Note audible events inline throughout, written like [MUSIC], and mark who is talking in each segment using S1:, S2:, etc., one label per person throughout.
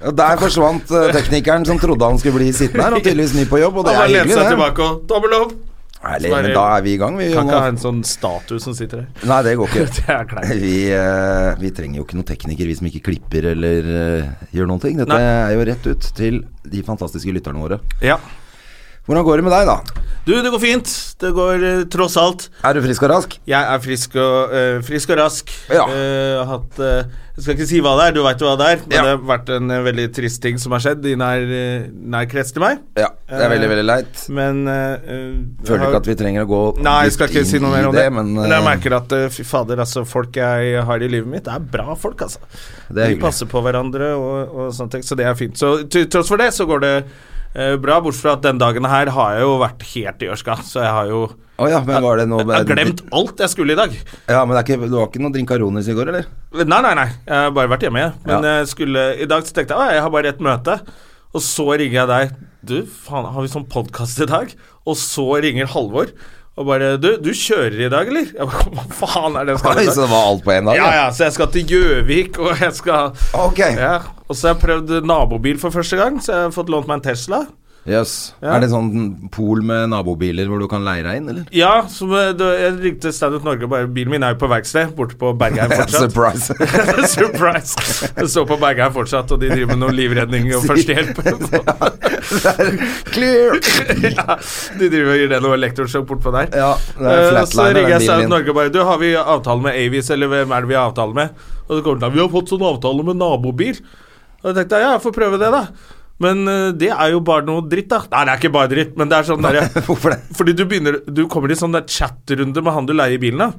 S1: Ja, Der forsvant eh, teknikeren som trodde han skulle bli sittende her, og tydeligvis ny på jobb, og det
S2: Han
S1: er
S2: bare lente
S1: hyggelig,
S2: seg
S1: det.
S2: tilbake og Dobbel lov!
S1: Herlig, men da er vi i gang, vi.
S2: Kan ikke ha [LAUGHS]
S1: Jonas.
S2: en sånn statue som sitter her.
S1: Nei, det går ikke.
S2: Det er kleint.
S1: Vi, eh, vi trenger jo ikke noen tekniker, vi som ikke klipper eller eh, gjør noen ting. Dette
S2: Nei.
S1: er jo rett ut til de fantastiske lytterne våre.
S2: Ja.
S1: Hvordan går det med deg, da?
S2: Du, det går fint. Det går eh, tross alt.
S1: Er du frisk og rask?
S2: Jeg er frisk og, eh, frisk og rask.
S1: Ja.
S2: Eh, har hatt, eh, jeg skal ikke si hva det er, du veit hva det er. Men
S1: Ja.
S2: det har vært en eh, veldig trist ting som har skjedd i nær, eh, nær krets til meg.
S1: Ja, det er veldig, veldig leit.
S2: Men eh,
S1: Føler ikke at vi trenger å gå
S2: Nei, jeg skal
S1: dypt
S2: ikke si
S1: inn
S2: noe
S1: i
S2: mer om det.
S1: men,
S2: Men,
S1: eh,
S2: jeg merker at eh, fy fader, altså, folk jeg har i livet mitt, er bra folk, altså.
S1: Det er
S2: De
S1: hyggelig.
S2: passer på hverandre og, og sånne ting, så det er fint. Så til tross for det, så går det eh, bra. Bortsett fra at den dagen her har jeg jo vært helt i ørska, så jeg har jo
S1: eh, Å ja, men var det noe
S2: jeg har glemt alt jeg skulle i dag.
S1: Ja, men det, er ikke, det var ikke noe drinkaronis i går, eller?
S2: Nei, nei, nei. Jeg har bare vært hjemme, jeg. Men
S1: Ja.
S2: jeg skulle, i dag så tenkte jeg at jeg har bare ett møte. Og så ringer jeg deg. Du, faen, har vi sånn podkast i dag? Og så ringer Halvor og bare Du, du kjører i dag, eller? Jeg bare, Hva faen er det jeg skal
S1: Oi,
S2: i
S1: så det
S2: dag?
S1: var alt på én dag?
S2: Ja, ja, så jeg skal til Gjøvik, og jeg skal
S1: Ok.
S2: ja. Og så har jeg prøvd nabobil for første gang, så jeg har fått lånt meg en Tesla.
S1: Jøss.
S2: Ja.
S1: Er det sånn pol med nabobiler hvor du kan leie deg inn, eller?
S2: Ja, så eh, da- jeg ringte Stand Up Norge og bare Bilen min er jo på verksted, borte på
S1: [LAUGHS]
S2: Bergheim fortsatt.
S1: Surprise.
S2: [LAUGHS] Surprise! Det står på Bergheim fortsatt, og de driver med noe livredning
S1: [LAUGHS]
S2: og førstehjelp. [LAUGHS]
S1: Clear!
S2: ja, de driver og gir det noe elektrosjokk bortpå der.
S1: Ja, det er
S2: Eh,
S1: flatliner,
S2: så
S1: den
S2: ringer jeg
S1: bilen
S2: Sound
S1: min.
S2: Norge og bare Du, har vi avtale med Avis, eller hvem er det vi har avtale med? Og så kommer det til Vi har fått sånn avtale med nabobil. Og jeg tenkte ja, jeg får prøve det, da. Men eh, det er jo bare noe dritt, da. Nei, det er ikke bare dritt, men det er sånn derre
S1: [LAUGHS] [LAUGHS] Hvorfor det?
S2: Fordi du begynner Du kommer i sånn der chatrunde med han du leier bilen av.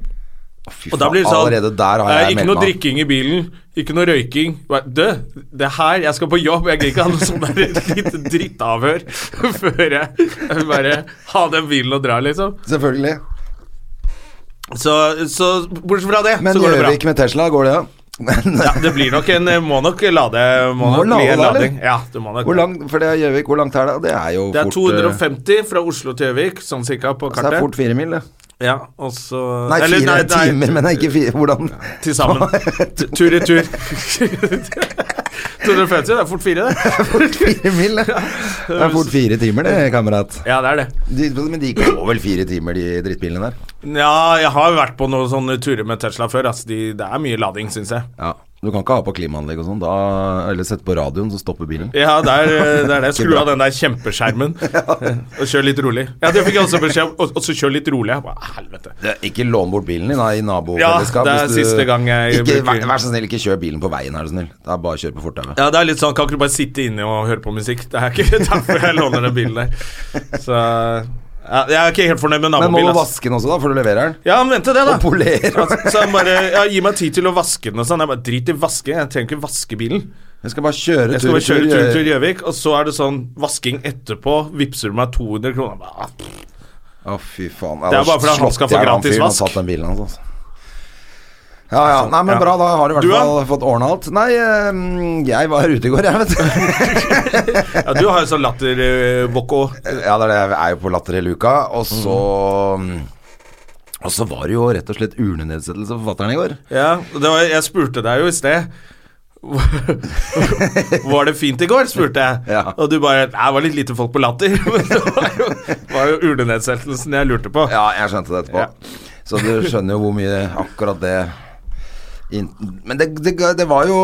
S1: Fy
S2: Og da blir det sånn
S1: Allerede der har
S2: eh,
S1: jeg
S2: Ikke
S1: meldt
S2: noe
S1: meg.
S2: drikking i bilen, ikke noe røyking. Bare, Du, det er her jeg skal på jobb, jeg gidder ikke ha noe sånn der [LAUGHS] lite drittavhør [LAUGHS] før jeg jeg bare ha den bilen og dra, liksom.
S1: Selvfølgelig.
S2: Så, så bortsett fra det,
S1: Men
S2: så går det bra.
S1: Gjøvik med Tesla, går det? [LAUGHS] Men,
S2: Ja, det blir nok en eh, Må nok lade. Må,
S1: Må
S2: nok bli
S1: lade,
S2: en
S1: da,
S2: lading.
S1: eller?
S2: Ja, det må nok
S1: hvor langt, for det er Gjøvik, hvor langt er det? Det er jo
S2: Det er
S1: fort eh,
S2: 250 fra Oslo til Gjøvik, sånn cirka, på
S1: Så det er fort
S2: kartet.
S1: fire mil, det.
S2: Ja, og så
S1: Nei, fire
S2: eller,
S1: timer, men det er ikke fire Hvordan?
S2: Til sammen. [LAUGHS] Tur-retur. 250, det er fort fire, det.
S1: [LAUGHS] Fire mil, det. Det er fort fire timer, det, kamerat.
S2: Ja, det er det.
S1: De, men de går vel fire timer, de drittbilene der?
S2: Ja, jeg har vært på noen sånne turer med Tesla før. ass. de, det er mye lading, syns jeg.
S1: Ja. Du kan ikke ha på klimaanlegg og sånn, da Eller sette på radioen, så stopper bilen.
S2: Ja, det er eh,
S1: [LAUGHS]
S2: det. Er det. Skru
S1: bra.
S2: av den der
S1: [LAUGHS]
S2: kjempeskjermen eh, og kjør litt rolig. Ja, det fikk jeg også beskjed om. Og, og så kjør litt rolig. Jeg bare, helvete.
S1: Det- Ikke lån bort bilen din da, i
S2: Ja,
S1: nabofellesskap.
S2: det er
S1: hvis
S2: siste gang jeg
S1: ikke,
S2: bruker-
S1: vær, vær så snill, ikke kjør bilen på veien, er du snill. Da bare kjør på fortauet.
S2: Ja, det er litt sånn, kan ikke du bare sitte inne og høre på musikk? Det er ikke [LAUGHS] derfor jeg låner den bilen der. Så ja, Jeg er ikke helt fornøyd med
S1: Men må
S2: nabobilen.
S1: du
S2: ass.
S1: vaske den også, da, før du leverer den?
S2: Ja, han mente det, da.
S1: Og polere.
S2: Altså, så han bare ja, Gi meg tid til å vaske den og sånn. Jeg bare drit i vaske, jeg trenger ikke vaske bilen.
S1: Jeg skal bare kjøre
S2: Jeg skal
S1: tur i
S2: bare kjøre tur
S1: tur.
S2: til Gjøvik, og så er det sånn vasking etterpå. Vippser du meg 200 kroner? Bare, ah,
S1: Å, fy faen. Ja,
S2: Det er
S1: da
S2: bare fordi han
S1: slått
S2: skal få
S1: jeg han
S2: gratis
S1: fyren og
S2: vask. Altså,
S1: Satt den bilen, hans, altså. Ja ja. Nei, men
S2: ja.
S1: bra, da har du i hvert
S2: Du,
S1: fall
S2: da?
S1: fått ordna alt. Nei, eh, jeg var ute i går, jeg, vet du.
S2: Ja, du har jo sånn lattervokk òg.
S1: Ja, det er det. Jeg er jo på Latter hele uka, og så mm, Og så var det jo rett og slett urnenedsettelse for forfatteren i går.
S2: Ja, og det var, jeg spurte deg jo i sted. [LAUGHS] Var det fint i går, spurte jeg.
S1: Ja.
S2: Og du bare Nei, det var litt lite folk på latter. [LAUGHS] Men det var jo, var jo urnenedsettelsen jeg lurte på.
S1: Ja, jeg skjønte det etterpå. Så du skjønner jo hvor mye akkurat det inn- Men det, det, det var jo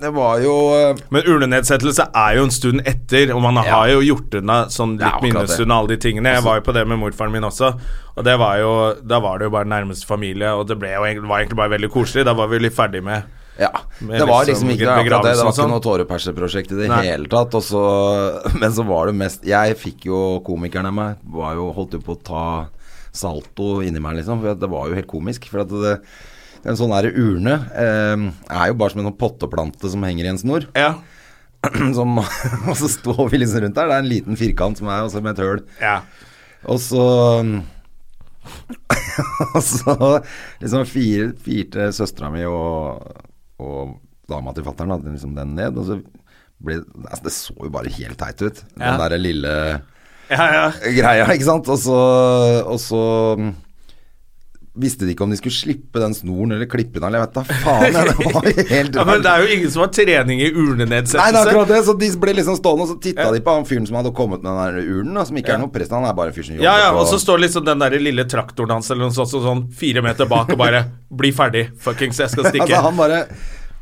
S1: Det var jo eh,
S2: Men urnenedsettelse er jo en stund etter, og man har jo gjort unna sånn
S1: Ja, akkurat
S2: litt
S1: det. Altså-
S2: minnestund alle de tingene. Jeg var jo på det med morfaren min også, og det var jo, da var det jo bare nærmeste familie, og det ble jo egentlig, var egentlig bare veldig koselig. Da var vi litt ferdig med
S1: Ja.
S2: Med
S1: Det var
S2: liksom
S1: liksom ikke akkurat det. Det var
S2: begravelse og
S1: ikke
S2: sånn.
S1: noe tåreperseprosjekt i det
S2: Nei.
S1: hele tatt. Og så, [LAUGHS] men så var det mest Jeg fikk jo komikeren av meg. Var jo, holdt jo på å ta salto inni meg, liksom. For det var jo helt komisk. For at det, ehm, en sånn her urne eh, er jo bare som en sånn potteplante som henger i en snor. [CLEARS THROAT]
S2: Ja.
S1: som, [LAUGHS] og så står vi liksom rundt der. Det er en liten firkant som er også med et høl.
S2: Ja.
S1: Og så [LAUGHS] Og så liksom fire, firte søstera mi og, og dama til fatter'n liksom den ned. Og så ble altså Det så jo bare helt teit ut,
S2: Ja.
S1: den derre lille
S2: Ja, ja.
S1: greia, ikke sant. Og så, og så visste de ikke om de skulle slippe den snoren eller klippe den, eller jeg vet da faen. jeg, Det
S2: [LAUGHS]
S1: var jo helt
S2: ja, men det er jo ingen som har trening i urnenedsettelse.
S1: Nei, det er akkurat det. Så de ble liksom stående, og så titta de på han fyren som hadde kommet med den der urnen, da, som ikke
S2: Ja.
S1: er noen prest, han er bare en fyr som jobber
S2: Ja, ja,
S1: på-
S2: og så står liksom den der lille traktoren hans eller noe sånt, så sånn fire meter bak og bare [LAUGHS] Bli ferdig, fuckings, jeg skal stikke.
S1: Altså,
S2: [LAUGHS]
S1: han bare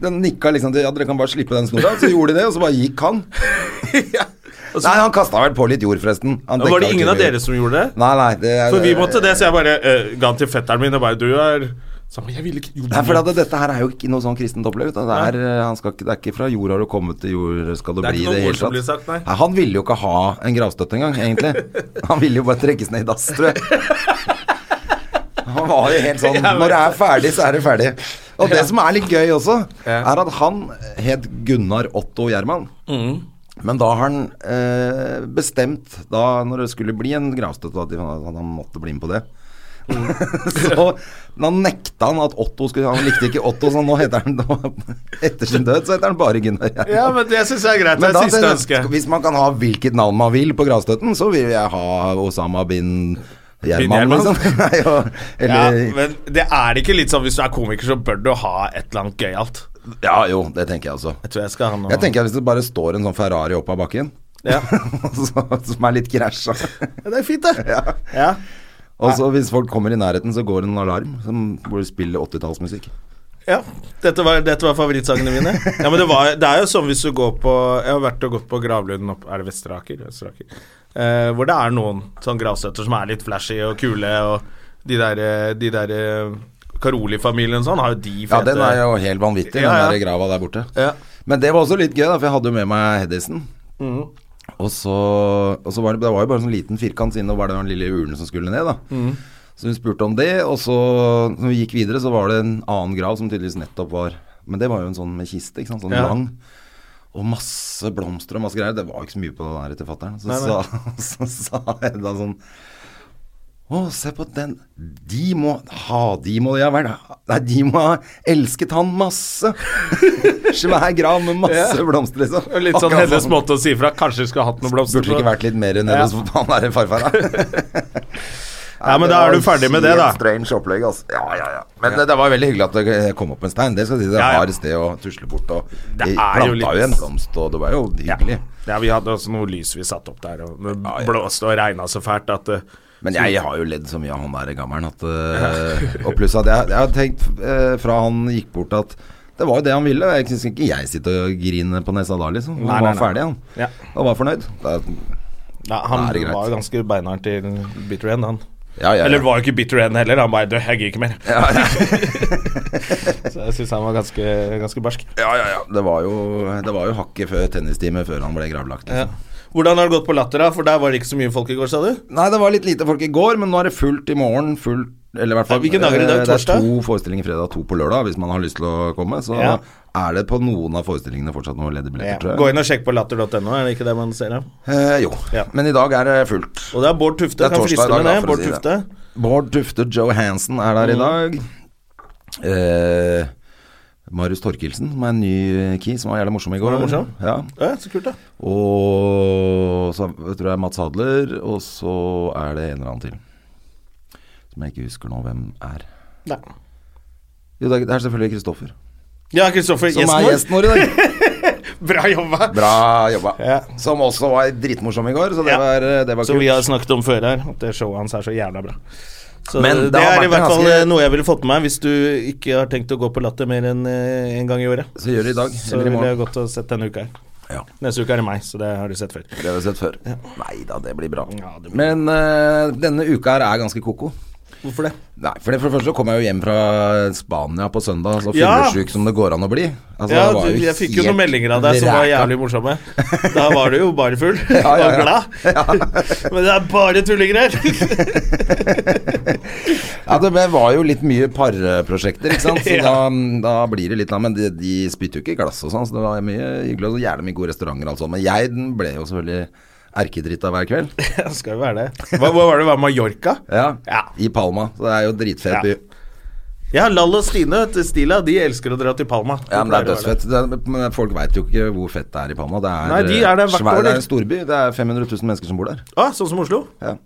S1: Den nikka liksom til Ja, dere kan bare slippe den snora. Så gjorde de det, og så bare gikk han.
S2: Og så-
S1: Nei, han kasta vel på litt jord, forresten. Han
S2: var
S1: dekka
S2: det
S1: jo
S2: ingen av
S1: tydeligvis-
S2: dere som gjorde det?
S1: Nei, nei. Det, er-
S2: For vi måtte det, så jeg bare eh, ga den til fetteren min og bare Du er Så han bare, Jeg ville ikke gjort
S1: Nei,
S2: det.
S1: for at dette her er jo ikke noe sånn kristent opplegg. vet du. Det er, eh, han skal ikke, det er ikke fra jord har du kommet til jord skal du
S2: Det er
S1: bli
S2: ikke noe
S1: det
S2: ord
S1: hele
S2: som
S1: tatt.
S2: blir sagt, nei.
S1: han ville jo ikke ha en gravstøtte engang,
S2: [LAUGHS]
S1: egentlig. Han ville jo bare trekkes ned i dass, tror jeg. Han var jo helt sånn Når det er ferdig, så er det ferdig. Og det som er litt gøy også,
S2: Ja.
S1: er at han het Gunnar Otto Gjerman. Men da har han eh, bestemt, da når det skulle bli en gravstøtte, at han, at han måtte bli med på det.
S2: Mm.
S1: [LAUGHS] så da nekta han at Otto skulle Han likte ikke Otto, så nå heter han Etter sin død så heter han bare Gunnar. Gjerman.
S2: [LAUGHS] Ja, men det syns jeg er greit.
S1: Men
S2: Det
S1: da
S2: er siste
S1: tenker jeg,
S2: ønske.
S1: hvis man kan ha hvilket navn man vil på gravstøtten, så vil jeg ha Osama bin Gjerman,
S2: Bin Gjerman?
S1: liksom. [LAUGHS] Nei, og-
S2: Ja,
S1: Eller ja,
S2: men det er ikke litt sånn hvis du er komiker, så bør du ha et eller annet gøyalt.
S1: jo, det tenker jeg også.
S2: Jeg tror jeg skal ha noe
S1: Jeg tenker at hvis det bare står en sånn Ferrari opp av bakken,
S2: Ja.
S1: [LAUGHS] så- som er litt krasja
S2: Det er fint, det. Ja.
S1: Og så Altså, hvis folk kommer i nærheten, så går en alarm som, hvor det spiller 80-tallsmusikk.
S2: Ja, dette var, dette var favorittsangene mine. Ja, men det, var, det er jo sånn hvis du går på Jeg har vært og gått på gravlunden opp Er det Vesteraker? Vesteraker. Eh, hvor det er noen sånn gravstøtter som er litt flashy og kule, og de der, eh, de der eh, Caroli-familien og sånn har jo de
S1: Ja,
S2: fete
S1: den er jo helt vanvittig,
S2: Ja, ja.
S1: den der grava der borte.
S2: Ja.
S1: Men det var også litt gøy, da, for jeg hadde jo med meg Hedison.
S2: Mhm.
S1: Og så, og så var det, det var jo bare sånn liten firkant siden det var den lille urnen som skulle ned, da.
S2: Mhm.
S1: Så hun spurte om det, og så når vi gikk videre, så var det en annen grav som tydeligvis nettopp var Men det var jo en sånn med kiste, ikke sant. Sånn
S2: Ja.
S1: lang. Og masse blomster og masse greier. Det var ikke så mye på den her til fatter'n. Så,
S2: Nei, nei.
S1: sa- [LAUGHS] så sa Hedda sånn å, se på den. De må ha De må ja vel Nei, de må ha elsket han masse. [LAUGHS] Svær grav med masse blomster, liksom.
S2: Og Litt sånn
S1: Akkurat
S2: hennes måte å si fra. Kanskje vi skulle hatt noen blomster.
S1: Burde det ikke
S2: på.
S1: vært litt mer nede
S2: Ja.
S1: hos han derre farfar, da?
S2: [LAUGHS] Ja, men da er du ferdig med det, da.
S1: Strange opplegg, altså. Ja, ja, ja. Men Det, det var veldig hyggelig at det kom opp en stein. Det skal jeg si. Det
S2: Ja, ja.
S1: har et sted å tusle bort, og
S2: Det
S1: vi
S2: er jo
S1: planta jo,
S2: litt-
S1: en blomst, og det var jo hyggelig.
S2: Ja, vi hadde også noe lys vi satte opp der, og det blåste og regna så fælt at eh,
S1: Men jeg har jo ledd så mye av han der gammelen at eh, Og pluss at jeg, jeg har tenkt eh, fra han gikk bort at det var jo det han ville. Jeg syns ikke jeg sitter og griner på nesa da, liksom. Han
S2: Nei, nei,
S1: var
S2: nei.
S1: ferdig, han.
S2: Ja.
S1: Han var fornøyd. Det, er-
S2: ja, Han
S1: Da er det greit.
S2: var jo ganske beinhard til bitter end, han.
S1: ja, ja, ja.
S2: Eller var jo ikke bitter end heller. Han bare død, jeg gir ikke mer.
S1: ja, ja,
S2: [LAUGHS] Så jeg syns han var ganske, ganske barsk.
S1: ja, ja, ja. Det var jo, det var jo hakket før tennistime før han ble gravlagt. Liksom.
S2: Hvordan har det gått på Latter, da? For der var det ikke så mye folk i går, sa du?
S1: Nei, det var litt lite folk i går, men nå er det fullt i morgen. Fullt eller i hvert fall,
S2: Ja, hvilken dag er det i dag?
S1: eh, Det
S2: Torsdag?
S1: er to forestillinger fredag, to på lørdag, hvis man har lyst til å komme. Så
S2: Ja.
S1: er det på noen av forestillingene fortsatt noen ledige billetter, tror jeg.
S2: Gå inn og sjekk på latter.no, er det ikke det man ser? da?
S1: Eh, jo,
S2: Ja.
S1: men i dag er det fullt.
S2: Og det er Bård Tufte.
S1: Det er
S2: Kan
S1: torsdag
S2: friste
S1: i dag,
S2: med
S1: da,
S2: det.
S1: for å
S2: Bård
S1: si det.
S2: Tufte.
S1: Bård Tufte Johansen er
S2: Mm.
S1: der i dag. Eh, Marius Torkelsen, som er en ny key, som var jævlig morsom i går.
S2: Var morsom?
S1: Ja.
S2: Ja, så kult, da.
S1: Og så tror jeg Mats Hadler, og så er det en eller annen til. Som jeg ikke husker nå hvem er.
S2: Nei.
S1: Jo, det er- det er selvfølgelig Kristoffer.
S2: Ja, Kristoffer.
S1: Som er
S2: Gjesten
S1: gjesten vår i
S2: [LAUGHS]
S1: dag.
S2: vår. Bra jobba.
S1: Bra jobba.
S2: Ja.
S1: Som også var dritmorsom i går, så det
S2: Ja.
S1: var, eh, det var
S2: Som
S1: kult.
S2: vi har snakket om før her, at det showet hans er så jævla bra. Så
S1: Men
S2: det,
S1: det har
S2: er i
S1: vært
S2: hvert fall
S1: ganske-
S2: eh, noe jeg ville fått med meg hvis du ikke har tenkt å gå på Latter mer enn én en gang i året.
S1: Så gjør det i dag.
S2: Så
S1: Eller i
S2: ville jeg
S1: morgen.
S2: gått og sett denne uka her.
S1: Ja.
S2: Neste uke er det meg, så det har du sett før.
S1: Det har vi sett før. Nei da, det blir bra.
S2: Ja, det blir-
S1: Men eh, denne uka her er ganske koko.
S2: Hvorfor det?
S1: Nei, for det, for det første så kom jeg jo hjem fra Spania på søndag, så
S2: Ja.
S1: fyllesyk som det går an å bli. Altså,
S2: Ja,
S1: det var
S2: du, jeg fikk jo
S1: helt
S2: noen meldinger av deg som var
S1: ræka.
S2: jævlig morsomme. Da var du jo bare [LAUGHS] full
S1: Ja, ja, ja.
S2: og glad. Men det er bare tullinger her! [LAUGHS]
S1: Ja, det ble- var jo litt mye parprosjekter,
S2: [LAUGHS]
S1: ikke sant. Så
S2: Ja.
S1: da, da blir det litt av Men de, de spytter jo ikke i glass og sånn, så det var mye hyggelig. Og så gjerne mye gode restauranter og alt sånt. Men jeg den ble jo selvfølgelig erkedritta hver kveld.
S2: [LAUGHS] Det skal jo være det. Hva, hva var det? Var Mallorca?
S1: Ja,
S2: Ja.
S1: I Palma. Så det er jo dritfet
S2: Ja.
S1: by.
S2: Ja, Lall og Stine til Stila, de elsker å dra til Palma.
S1: Ja, men det er dødsfett. Det er, men folk veit jo ikke hvor fett det er i Palma. Det er,
S2: Nei, de er der hvert år,
S1: svær, det
S2: de.
S1: er en storby. Det er 500 000 mennesker som bor der.
S2: Ah, sånn som Oslo?
S1: Ja.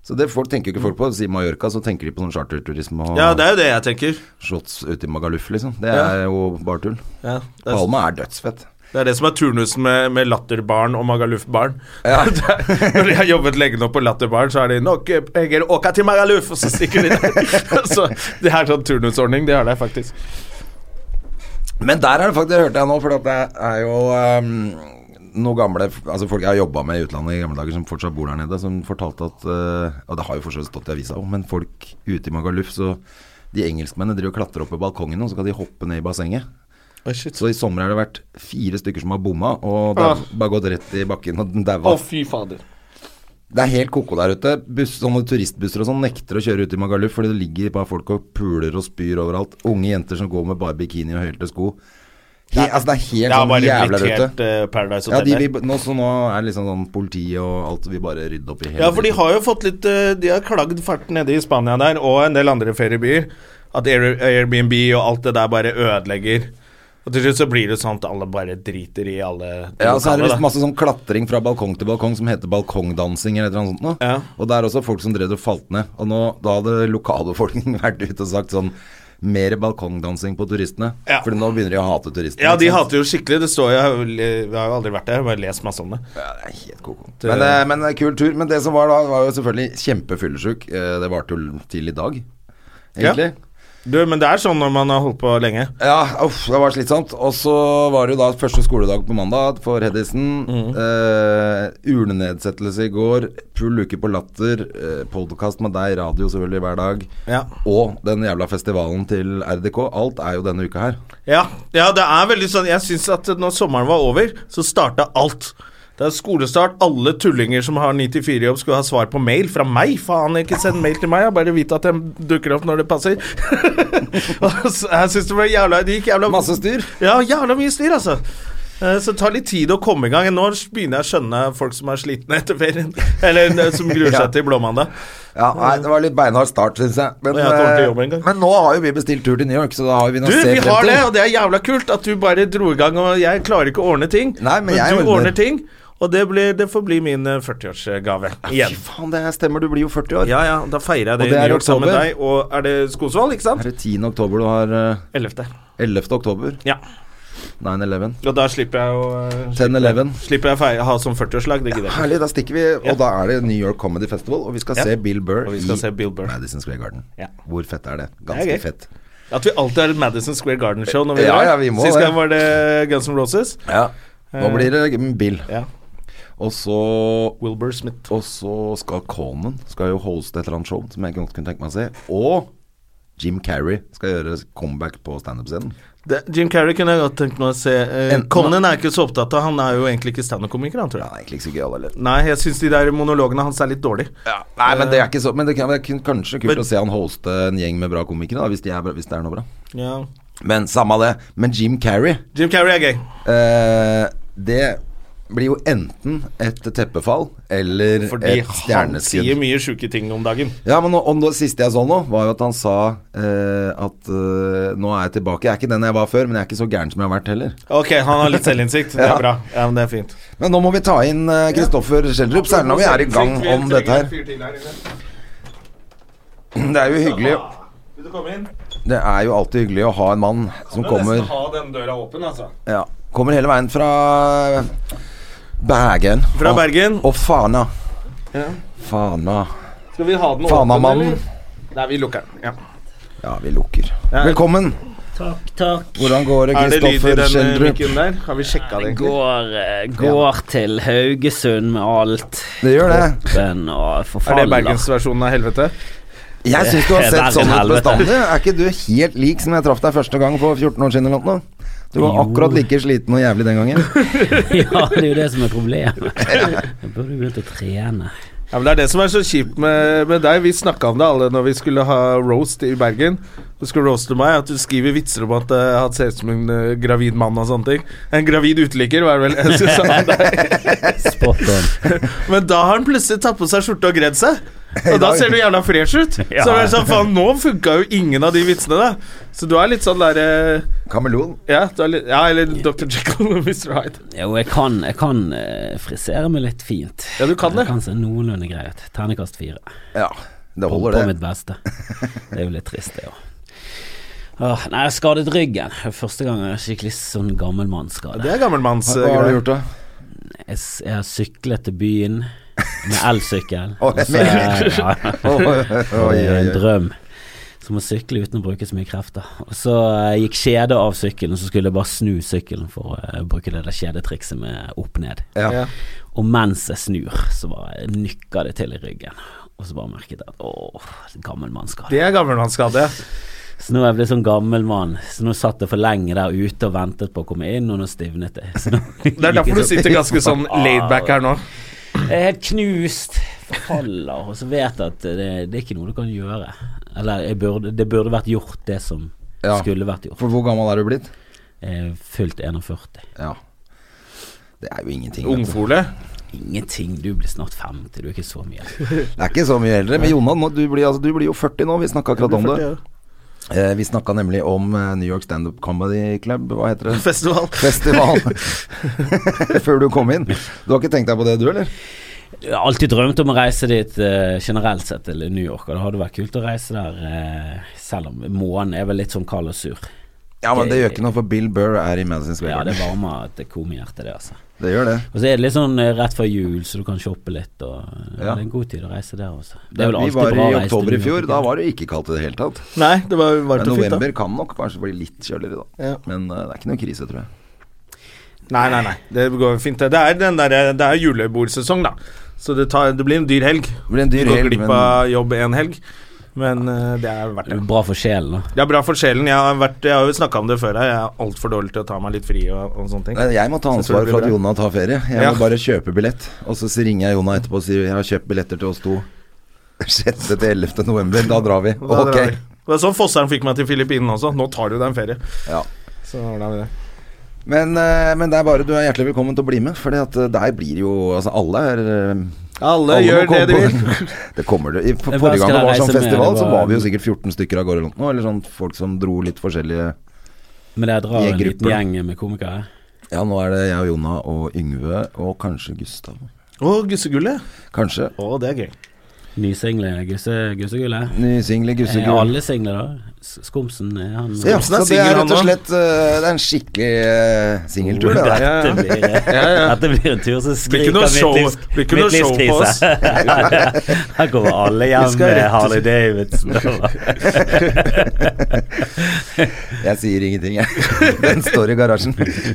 S1: Så det folk tenker jo ikke folk på. Sier Mallorca, så tenker de på sånn charterturisme og
S2: Ja, det er jo det jeg tenker.
S1: shots ute i Magaluf, liksom. Det er jo bare tull.
S2: Ja, det, er,
S1: Palma er dødsfett.
S2: det er det som er turnusen med, med Latterbaren og Magaluf-baren. [LAUGHS] Når de har jobbet lenge nok på Latterbaren, så er de 'Nok eh, penger, åka til Magaluf!' Og så stikker de der. [LAUGHS] så det er sånn turnusordning, det har de faktisk.
S1: Men der er det faktisk, det hørte jeg nå, for at det er jo um, noen gamle altså folk jeg har jobba med i utlandet i gamle dager, som fortsatt bor der nede, som fortalte at eh, Og det har jo fortsatt stått i avisa òg, men folk ute i Magaluf, så de engelskmennene driver og klatrer opp på balkongen, og så skal de hoppe ned i bassenget.
S2: Å, shit.
S1: Så i sommer har det vært fire stykker som har bomma, og det har bare gått rett i bakken og [LAUGHS] daua.
S2: Ah. Å, fy fader.
S1: Det er helt koko der ute. Buss, sånne turistbusser og sånn nekter å kjøre ut i Magaluf fordi det ligger bare folk og puler og spyr overalt. Unge jenter som går med bare bikini og hølte sko. He, altså det er helt
S2: Det har
S1: sånn
S2: bare
S1: jævla
S2: blitt
S1: der
S2: helt
S1: ute.
S2: eh, Paradise
S1: Ja,
S2: Hotel.
S1: de,
S2: der.
S1: vi, nå, så nå er det liksom sånn politi og alt vi bare rydder opp i hele
S2: Ja, for de
S1: dritten.
S2: har jo fått litt eh, De har klagd fart nede i Spania der, og en del andre feriebyer, at Air- Airbnb og alt det der bare ødelegger. Og til slutt så blir det sånn at alle bare driter i alle de
S1: Ja, så er det
S2: lokale,
S1: visst
S2: da.
S1: masse sånn klatring fra balkong til balkong som heter balkongdansing eller et eller annet sånt noe.
S2: Ja.
S1: Og det er også folk som drev og falt ned. Og nå, da hadde lokalbefolkningen [LAUGHS] vært ute og sagt sånn Mer balkongdansing på turistene.
S2: Ja.
S1: For nå begynner de å hate turistene.
S2: Ja,
S1: ikke
S2: de
S1: sant?
S2: hater jo skikkelig. Det står jo Jeg har jo- jeg har jo aldri vært der, jeg har bare lest masse om det.
S1: Ja, det er helt koko. Men, eh, men eh, kul tur. Men det som var da, var jo selvfølgelig kjempefyllesyk. Eh, Det varte jo til i dag, egentlig.
S2: Du, men det er sånn når man har holdt på lenge.
S1: Ja, uff, det var slitsomt. Og så var det jo da første skoledag på mandag for Hedisen.
S2: Mhm.
S1: Eh, urnenedsettelse i går. Full uke på Latter. Eh, Podkast med deg, radio selvfølgelig hver dag.
S2: Ja.
S1: Og den jævla festivalen til RDK. Alt er jo denne uka her.
S2: Ja, ja det er veldig sånn Jeg syns at når sommeren var over, så starta alt. Det er skolestart. Alle tullinger som har 9-4-jobb, skulle ha svar på mail fra meg. Faen, ikke send mail til meg. Jeg bare vite at jeg dukker opp når det passer. [LAUGHS] Og så- jeg syns det ble jævla Det gikk jævla
S1: Masse styr.
S2: Ja, jævla mye styr, altså. Eh, Så det tar litt tid å komme i gang. Nå begynner jeg å skjønne folk som er slitne etter ferien. [LAUGHS] Eller eh, som gruer
S1: [LAUGHS]
S2: seg
S1: Ja.
S2: til blåmandag.
S1: Ja, nei, det var litt beinhard start, syns jeg. Men,
S2: Og jeg kommer til
S1: eh,
S2: jobb en gang.
S1: men nå har jo vi bestilt tur til New York, så da har vi noe
S2: Du,
S1: å se
S2: vi
S1: frem
S2: har
S1: til.
S2: det, og det er jævla kult at du bare dro i gang, og jeg klarer ikke å ordne ting.
S1: Nei, men jeg
S2: du
S1: ordner.
S2: ordner ting, og det, blir, det får bli min eh, 40-årsgave igjen.
S1: Fy faen, det stemmer. Du blir jo 40 år.
S2: Ja, ja, da feirer jeg det,
S1: Og det
S2: i
S1: er
S2: New York sammen med
S1: oktober.
S2: deg, og er det Skosvold, ikke sant?
S1: Er det 10. oktober du har eh,
S2: 11.
S1: 11. oktober?
S2: Ja,
S1: 9-11.
S2: og da slipper jeg å eh,
S1: 10-11.
S2: Slipper jeg å feire, ha som 40-årslag, det gidder jeg ikke.
S1: Herlig, da stikker vi. Og
S2: Ja.
S1: da er det New York Comedy Festival, og vi skal
S2: Ja.
S1: se Bill Burr
S2: Og vi
S1: i
S2: skal se Bill Burr.
S1: Madison Square Garden.
S2: Ja.
S1: Hvor fett er det? Ganske
S2: Det er gøy.
S1: fett.
S2: At vi alltid har et Madison Square Garden-show når vi
S1: Ja,
S2: drar.
S1: ja, vi må
S2: Sist
S1: det.
S2: gang var det Guns N' Roses.
S1: Nå blir det Bill.
S2: Eh, Ja.
S1: Og så
S2: Wilbur Smith.
S1: Og så skal Coleman skal jo hoste et eller annet show som jeg godt kunne tenke meg å se. Og Jim Carrey skal gjøre comeback på standup-scenen.
S2: Det, Jim Carrey kunne jeg godt tenkt meg å se. Eh,
S1: Enten-
S2: Conan er ikke så opptatt av, han er jo egentlig ikke standup-komiker, han tror jeg.
S1: Han er egentlig ikke så gøyal heller.
S2: Nei, jeg syns de der monologene hans er litt dårlige.
S1: Nei, men det er ikke så Eh, Men det kan det er kanskje kult
S2: Men-
S1: å se han hoste en gjeng med bra komikere, da, hvis, de er, bra- hvis det er noe bra.
S2: Ja.
S1: Men samme det. Men Jim Carrey
S2: Jim Carrey er gøy.
S1: eh, Det blir jo enten et teppefall eller
S2: Fordi
S1: et
S2: han sier
S1: stjerneskudd.
S2: mye sjuke ting om dagen.
S1: Ja, men nå- om det siste jeg så nå, var jo at han sa eh, at eh, nå er jeg tilbake. Jeg er ikke den jeg var før, men jeg er ikke så gæren som jeg har vært heller.
S2: Ok, han har litt selvinnsikt. Det er bra. Ja, men det er fint.
S1: Men nå må vi ta inn eh, Kristoffer Schjelderup, særlig når vi er i gang om dette her. Det er jo hyggelig
S2: Vil du komme inn?
S1: Det er jo alltid hyggelig å ha en mann som kommer
S2: ha den døra åpen, altså.
S1: Ja, kommer hele veien fra eh, Bergen.
S2: Fra
S1: Og-
S2: Bergen.
S1: Og Fana.
S2: Ja.
S1: Fana.
S2: Skal vi ha den
S1: Fanamannen.
S2: eller? Nei, vi lukker den. Ja.
S1: Ja, vi lukker.
S2: Ja.
S1: Velkommen.
S3: Takk, takk.
S1: Hvordan går det,
S2: Er det lyd i
S1: Kristoffer
S2: den eh,
S1: Schjelderup?
S2: mikken der? Har vi sjekka det,
S3: Det
S2: egentlig?
S3: går, eh, går til Haugesund med alt.
S1: Det gjør det.
S3: Den og
S2: Er det
S3: forfaller.
S2: bergensversjonen av helvete?
S1: Jeg syns [LAUGHS] du har
S3: Det er
S1: sett
S3: til
S1: sånn ut
S3: helvete.
S1: bestandig. Er ikke du helt lik som jeg traff deg første gang for 14 år siden eller noe? Du var
S3: Jo.
S1: akkurat like sliten og jævlig den
S2: [LAUGHS]
S1: gangen.
S3: [LAUGHS] Ja, det er jo det som er problemet. Jeg burde jo begynt å trene.
S2: Ja, men Det er det som er så kjipt med, med deg. Vi snakka om det alle når vi skulle ha roast i Bergen. Du skulle roaste meg at du skriver vitser om at eh, han ser ut som en eh, gravid mann og sånne ting. En gravid uteligger, var det vel jeg synes han sa.
S1: [LAUGHS]
S3: Spot on.
S2: Men da har han plutselig tatt på seg skjorte og gredd seg. Og da ser du jævla fresh
S1: [LAUGHS]
S2: ut.
S3: Ja.
S2: Så det er sånn, faen, nå funka jo ingen av de vitsene, da. Så du er litt sånn derre
S1: Kameleon.
S2: ja, du er litt- ja, eller Dr. Jekyll og Mr. Hyde.
S3: Jo, jeg kan, jeg kan eh, frisere meg litt fint.
S2: Ja, du kan det.
S3: Jeg kan se noenlunde grei ut. Ternekast fire.
S1: Ja, det
S3: På,
S1: holder,
S3: på
S1: det.
S3: mitt beste. Det er jo litt trist, det òg. Åh, nei, jeg skadet ryggen. Det er Første gang jeg har skikkelig sånn gammel
S2: Det
S3: mannsskade.
S2: er eh, gammelmannsgreier.
S1: Hva har du gjort, da?
S3: Jeg, s- jeg har syklet til byen med elsykkel.
S1: [LAUGHS] Oi,
S3: og så er- ja,
S1: [LAUGHS] [LAUGHS] Oi,
S3: [LAUGHS] og
S1: oi,
S3: det er en
S1: oi.
S3: drøm. Som å sykle uten å bruke så mye krefter. Og så eh, gikk kjedet av sykkelen, så skulle jeg bare snu sykkelen for å eh, bruke det der kjedetrikset med opp-ned.
S1: Ja.
S2: Ja.
S3: Og mens jeg snur, så bare nykka det til i ryggen. Og så bare merket jeg at åh, gammel mannskade.
S2: Det er gammelmannsskade. ja.
S3: Så nå er jeg blitt sånn gammel mann. Så nå satt jeg for lenge der ute og ventet på å komme inn, og nå stivnet jeg. [LAUGHS] Så nå
S2: Det er derfor du sitter ganske
S1: [LAUGHS]
S2: sånn laidback her nå.
S3: Jeg er helt knust. Forfaller. Og så vet jeg at det, det er ikke noe du kan gjøre. Eller jeg burde, det burde vært gjort, det som
S1: Ja.
S3: skulle vært gjort.
S1: For hvor gammel er du blitt?
S3: Jeg er fylt 41.
S1: Ja. Det er jo ingenting. vet du.
S2: Ungfole.
S3: Ingenting. Du blir snart 50, du er ikke så mye.
S1: Det er ikke så mye eldre. Men Jonan, nå- du, blir- altså, du blir jo 40 nå. Vi snakka akkurat om det. Eh, Vi snakka nemlig om eh, New York Standup Comedy Club, hva heter det?
S2: Festival.
S1: [LAUGHS] Festival. Før du kom inn. Du har ikke tenkt deg på det, du, eller?
S3: Jeg har alltid drømt om å reise dit eh, generelt sett til New York, og det hadde vært kult å reise der eh, selv om månen er vel litt sånn kald og sur.
S1: Ja, men det gjør ikke noe, for Bill Burr er i Madison Square
S3: Ja,
S1: Garden.
S3: det varmer et komihjerte, det, altså.
S1: Det gjør det.
S3: Og så er det litt sånn eh, rett før jul, så du kan shoppe litt, og eh,
S1: Ja.
S3: det er en god tid å reise der også.
S1: Vi var i oktober i fjor, da var det jo ikke kaldt i det hele tatt.
S2: Nei, det var varmt
S1: Men
S2: og fint, da.
S1: november kan nok kanskje bli litt kjøligere, da.
S2: Ja.
S1: Men eh, det er ikke noe krise, tror jeg.
S2: Nei, nei, nei. Det går fint. det. Det er, den der, det er julebordsesong, da. Så det, tar, det blir en dyr helg.
S1: Det blir en dyr
S2: Du går
S1: helg,
S2: glipp
S1: men-
S2: av jobb en helg, men eh, det er verdt det.
S3: Bra for sjelen, da.
S2: Det er bra for sjelen. Jeg har, vært, jeg har jo snakka om det før. her. Jeg er altfor dårlig til å ta meg litt fri og, og sånne ting.
S1: Nei, Jeg må ta
S2: Så tror
S1: ansvar
S2: jeg
S1: for
S2: det blir
S1: at Jonna tar ferie. Jeg
S2: Ja.
S1: må bare kjøpe billett. Og så ringer jeg Jonna etterpå og sier jeg har kjøpt billetter til oss to. [LAUGHS] 6. til 11. november. Da drar vi.
S2: Da drar
S1: ok.
S2: vi. Det var sånn Fosseren fikk meg til Filippinene også. Nå tar du deg en ferie.
S1: Ja.
S2: Så ordner vi det.
S1: Men, eh, men det er bare du er hjertelig velkommen til å bli med, for der blir jo Altså, alle er eh,
S2: Alle,
S1: må
S2: gjør det
S1: komme
S2: de
S1: på-
S2: vil.
S1: [LAUGHS] Det kommer du. I for-
S3: Hva
S1: forrige gang
S3: skal
S1: det
S3: jeg
S1: var
S3: reise
S1: sånn
S3: med?
S1: festival,
S3: Det eh,
S1: så
S3: var-
S1: var vi jo sikkert 14 stykker av gårde eller noe. Eller sånn folk som dro litt forskjellige
S3: Men jeg
S1: I
S3: drar en liten
S1: grupper.
S3: gjeng med komikere.
S1: Ja, nå er det jeg og Jonna og Yngve og kanskje Gustav.
S2: Å, gussegullet.
S1: Kanskje.
S2: Å, det er gøy.
S3: Nysingle, gusse- gussegullet.
S1: Nysingle
S3: Eh,
S1: Gussegull.
S3: Alle single, da. S- Skomsen er han
S1: Ja,
S2: Skomsen er
S1: så det er
S2: singel,
S1: rett og
S2: han nå.
S1: slett eh, Det er en skikkelig eh, singeltur, det der.
S2: Ja, ja.
S3: Dette blir,
S2: ja.
S3: dette blir en tur som
S2: Blir ikke
S3: skriker
S2: noe show-
S3: midtlivs-
S2: blir ikke noe show på oss.
S3: midtlivskrise. [LAUGHS] Her kommer alle
S2: Vi
S3: hjem
S2: skal
S3: med
S2: rett-
S3: Harley
S2: [LAUGHS]
S3: Davidson.
S1: [LAUGHS] Jeg sier ingenting, jeg. Den står i garasjen.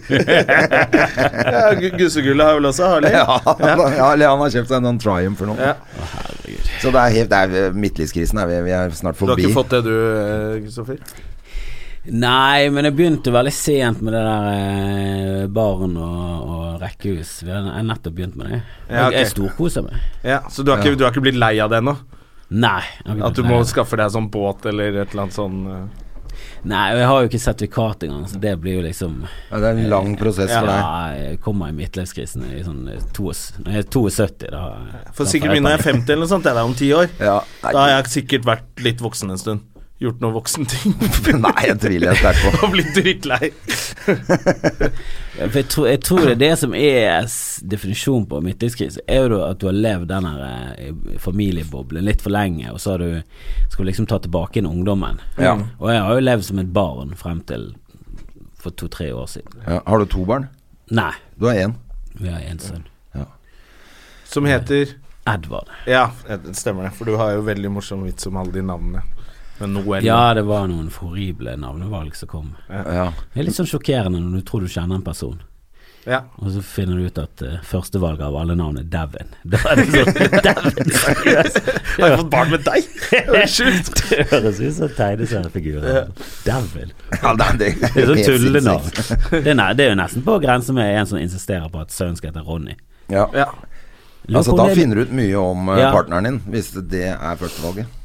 S2: Ja, gu- gussegullet har vel også Harley?
S1: [LAUGHS] [LAUGHS] Ja, han, ja, eller han har kjøpt seg noen Triumph for noe.
S2: Ja.
S1: Så det er helt det er, Midtlivskrisen er vi, vi er snart
S2: Du har
S1: forbi.
S2: ikke fått det du, eh, Kristoffer?
S3: Nei, men jeg begynte veldig sent med det der eh, baren og, og rekkehus. Vi har- Jeg har nettopp begynt med det. Jeg,
S2: Ja, ok.
S3: jeg storkoser meg.
S2: Ja, så du har, ikke, du har ikke blitt lei av det ennå?
S3: Nei. jeg har ikke
S2: At du
S3: blitt
S2: må
S3: lei.
S2: skaffe deg sånn båt eller et eller annet sånn eh.
S3: Nei, og jeg har jo ikke sertifikat engang, så det blir jo liksom
S1: Ja, det er en lang prosess for deg.
S3: Ja, jeg kommer i midtlivskrisen i sånn eh, to- når jeg er 72, da
S2: For
S3: da
S2: sikkert
S3: får jeg
S2: min er
S3: panikk.
S2: 50 eller noe sånt, det er om ti år.
S1: Ja,
S2: Da har
S1: nei,
S2: jeg sikkert vært litt voksen en stund. Gjort noe voksenting.
S1: nei, [LAUGHS] jeg tviler jeg sterkt på.
S2: [LAUGHS] Og blitt drittlei.
S3: Ja, For jeg, tror, jeg tror det er det som er s- definisjonen på midtlivskrise, er jo at du har levd den her eh, familieboblen litt for lenge, og så har du skal du liksom ta tilbake inn ungdommen.
S1: Ja.
S3: Og jeg har jo levd som et barn frem til for to-tre år siden.
S1: Ja, har du to barn?
S3: Nei,
S1: Du har én.
S3: vi har én sønn.
S2: Som heter
S3: Edvard.
S2: Ja, det stemmer det. For du har jo veldig morsom vits om alle de navnene. Men Noel
S3: Ja, det var noen horrible navnevalg som kom.
S1: Ja.
S3: Det er litt sånn sjokkerende når du tror du kjenner en person.
S2: Ja.
S3: Og så finner du ut at eh, førstevalget av alle navn er Devin. [LAUGHS] Da er det sånn Devin, seriøst!
S2: Har jeg fått barn med [LAUGHS] deg? Det er sjukt.
S3: Det høres ut som en tegneseriefigur. Devil.
S1: Ja, det,
S2: [LAUGHS]
S1: det,
S3: Det er sånn tullenavn. Det, er ne- det er jo nesten på grensen med en som insisterer på at sønnen skal hete Ronny.
S1: Ja.
S2: Ja.
S3: Lurer
S1: Altså,
S3: på
S1: da
S3: om det-
S1: finner du ut mye om eh,
S3: Ja.
S1: partneren din, hvis det er førstevalget.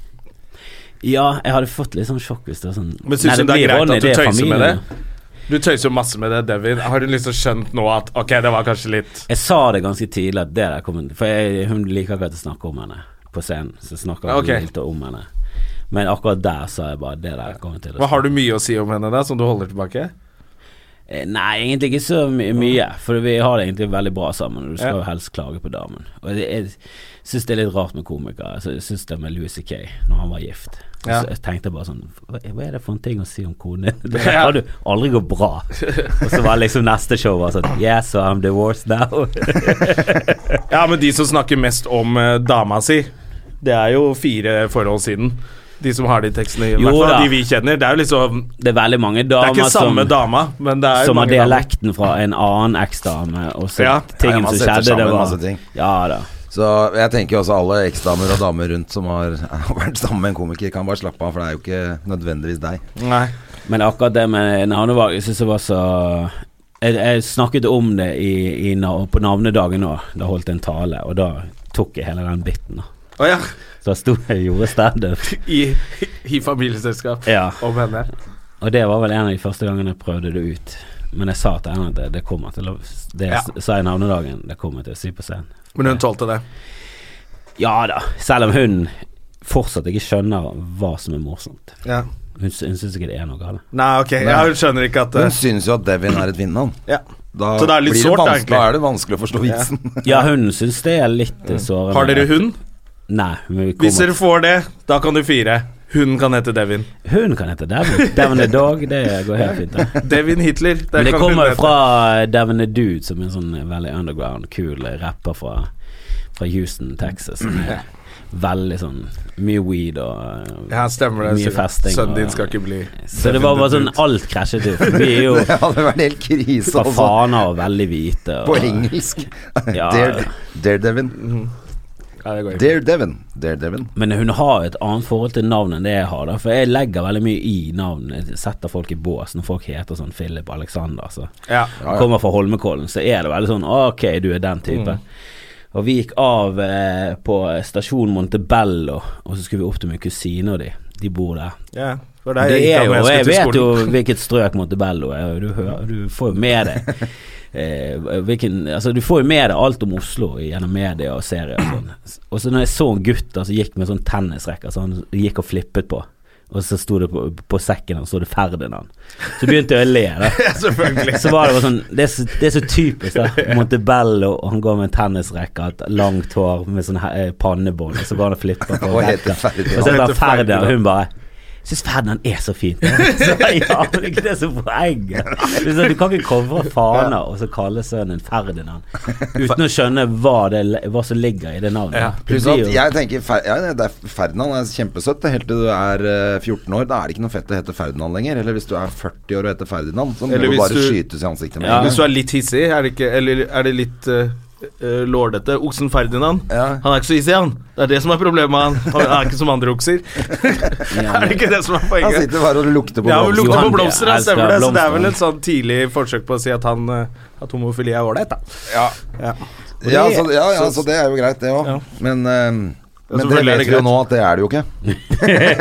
S3: Ja, jeg hadde fått litt sånn sjokk hvis det var sånn
S2: Men synes
S3: Nei,
S2: du det er
S3: blir
S2: greit
S3: Ronny,
S2: at du
S3: det er
S2: tøyser med
S3: familien.
S2: det? Du tøyser jo masse med det, Devin. Har du liksom skjønt nå at ok, det var kanskje litt
S3: Jeg sa det ganske tidlig at det der kommer For jeg, hun liker ikke at jeg snakker om henne på scenen. Så snakker hun
S2: Ok.
S3: litt om henne. Men akkurat der sa jeg bare det der kommer til å
S2: Hva Har du mye å si om henne da, som du holder tilbake?
S3: Eh, Nei, egentlig ikke så my mye, for vi har det egentlig veldig bra sammen. og Du skal
S2: Ja.
S3: jo helst klage på damen. Og jeg, jeg syns det er litt rart med komikere. Altså, jeg syns det med Louis C.K. når han var gift.
S2: Ja.
S3: Så jeg tenkte bare sånn Hva hva er det for en ting å si om konen
S2: [LAUGHS]
S3: din? Det
S2: Ja.
S3: kan du aldri gå bra. Og så var liksom neste show bare
S2: [LAUGHS]
S3: sånn Yes, so I'm divorced now.
S2: Ja, men de som snakker mest om eh, dama si, det er jo fire forhold siden. De som har de tekstene, i
S3: Jo
S2: hvert fall
S3: da.
S2: de vi kjenner. Det er jo liksom
S3: Det er veldig mange
S2: Det er
S3: damer
S2: ikke
S3: som
S2: samme dama, men det er jo
S3: som har
S2: mange damer.
S3: dialekten fra en annen eksdame, og så
S2: Ja.
S3: tingen
S1: Nei, man
S3: som
S1: setter
S3: skjedde, det
S1: sammen
S3: var
S1: masse ting.
S3: Ja da.
S1: Så jeg tenker jo også alle eksdamer og damer rundt som har [LAUGHS] har vært sammen med en komiker, kan bare slappe av, for det er jo ikke nødvendigvis deg.
S2: Nei.
S3: Men akkurat det med navnevalg, jeg syns det var så jeg, jeg snakket om det i, i, na- på navnedagen òg. Da holdt jeg en tale, og da tok jeg hele den biten. da.
S2: Å ja.
S3: Så da sto jeg og gjorde standup.
S2: I, I familieselskap.
S3: Ja.
S2: Om henne.
S3: Og det var vel en av de første gangene jeg prøvde det ut. Men jeg sa til henne at det, det kommer til å Det jeg
S2: Ja.
S3: s- sa i navnedagen, det kommer jeg til å si på scenen.
S2: Men hun tålte det.
S3: Ja da, selv om hun fortsatt ikke skjønner hva som er morsomt.
S2: Ja.
S3: Hun, sy- hun syns ikke det er noe
S2: [LAUGHS]
S3: galt.
S2: Nei, ok. Ja, hun skjønner ikke at
S1: Hun
S2: eh,
S1: synes jo at Devin er et vinnernavn.
S2: ja.
S1: Da,
S2: Så det er litt
S1: blir
S2: sårt,
S1: det
S2: egentlig.
S1: vanskelig- da er det vanskelig å forstå vitsen. [LAUGHS]
S3: Ja, hun syns det er litt eh, sårende.
S2: Har dere hund?
S3: Nei. Men vi
S2: Hvis dere
S3: kommer.
S2: får det, da kan du fire. Hun kan hete Devin.
S3: Hun kan hete
S2: [LAUGHS]
S3: Devon. Devon the Dog, det går helt fint. Det.
S2: Devin Hitler. det
S3: Men det
S2: kan hun
S3: kommer jo
S2: hete.
S3: fra Devon the Dude, som er en sånn veldig underground, kul rapper fra, fra Houston, Texas. Som er veldig sånn mye weed og eh,
S2: Ja, stemmer det.
S3: Mye
S2: sikkert.
S3: festing
S2: Sønnen
S3: og-
S2: din skal ikke bli
S3: Så det var bare sånn alt krasjet ut. Vi
S2: [LAUGHS]
S3: er jo
S1: Det hadde vært helt krise,
S2: sånn.
S3: fra
S1: altså.
S3: Fana og veldig hvite.
S1: På
S3: Og,
S1: engelsk.
S2: [LAUGHS]
S3: Ja.
S1: Dare, Dare Devin.
S2: Ja, det går ikke.
S1: Dare Devin. Dare Devin.
S3: Men hun har et annet forhold til navn enn det jeg har, da. For jeg legger veldig mye i navn. Jeg setter folk i bås når folk heter sånn Philip Alexander. Så.
S2: Ja.
S3: Kommer fra Holmenkollen, så er det veldig sånn Ok, du er den type.
S2: Mm.
S3: Og vi gikk av eh, på stasjon Montebello, og så skulle vi opp til min kusine og de. De bor der.
S2: ja. For
S3: Det,
S2: deg gikk
S3: er
S2: han
S3: jo,
S2: når
S3: jeg
S2: skulle til
S3: vet jo
S2: skolen. [LAUGHS]
S3: hvilket strøk Montebello er, og du, hører, du får jo med
S2: [LAUGHS]
S3: deg eh, hvilken, altså Du får jo med deg alt om Oslo gjennom media og serier og sånn. Og så når jeg så en gutt da, som gikk med sånn tennisracket, så han gikk og flippet på. Og så sto det på, på sekken hans, så det Ferdinand. Så begynte jeg å le,
S2: [LAUGHS]
S3: da.
S2: Selvfølgelig.
S1: [LAUGHS]
S3: Så var det bare sånn Det er så, det er så typisk, da. Montebello, og han går med en tennisracket, et langt hår med sånn he- eh, pannebånd, og så går han og flipper på
S1: [LAUGHS] Og heter
S3: racket.
S1: Ferdinand.
S3: Og så er det
S2: Heter
S3: bare Ferdinand, og
S2: Ferdinand.
S3: hun bare Syns Ferdinand er så fint. [LAUGHS] Så, ja, men ikke det er så poenget. Det er sånn, Du kan ikke komme fra Fana og så kalle sønnen
S1: [LAUGHS]
S3: Ferdinand uten å skjønne hva, det, hva som ligger i det navnet.
S2: Ja,
S3: Det
S1: Pluss at
S3: blir jo-
S1: jeg tenker Fer ja, det er Ferdinand er kjempesøtt det, helt til du er eh, 14 år. Da er det ikke noe fett å hete Ferdinand lenger. Eller hvis du er 40 år og heter Ferdinand, så må
S2: Eller
S1: du
S2: hvis
S1: bare
S2: du-
S1: skytes i ansiktet med en
S3: Ja.
S1: gang.
S2: Hvis du er litt hissig, er det ikke Eller er det litt eh, eh, lårdete? Oksen Ferdinand.
S1: Ja.
S2: Han er ikke så hissig, han. Det er det som er problemet med han. Han er ikke som andre okser. [LAUGHS] er det ikke det som
S1: Han
S2: er
S3: Altså,
S2: poenget?
S1: sitter bare og lukter på
S2: Ja, men
S1: blomster.
S2: lukter på
S3: Johan,
S2: blomster,
S3: jeg
S2: ja,
S3: elsker
S2: stemmer det. Så det er vel
S3: blomster.
S2: et sånn tidlig forsøk på å si at han eh, At homofili er ålreit, da.
S1: Ja.
S2: Ja.
S1: Ja, så, ja, ja, så det er jo greit, det òg.
S2: Ja.
S1: Men, eh,
S2: Ja,
S1: men det
S2: selvfølgelig er
S1: vet
S2: det
S1: vi jo
S2: greit.
S1: nå at det er det jo ikke.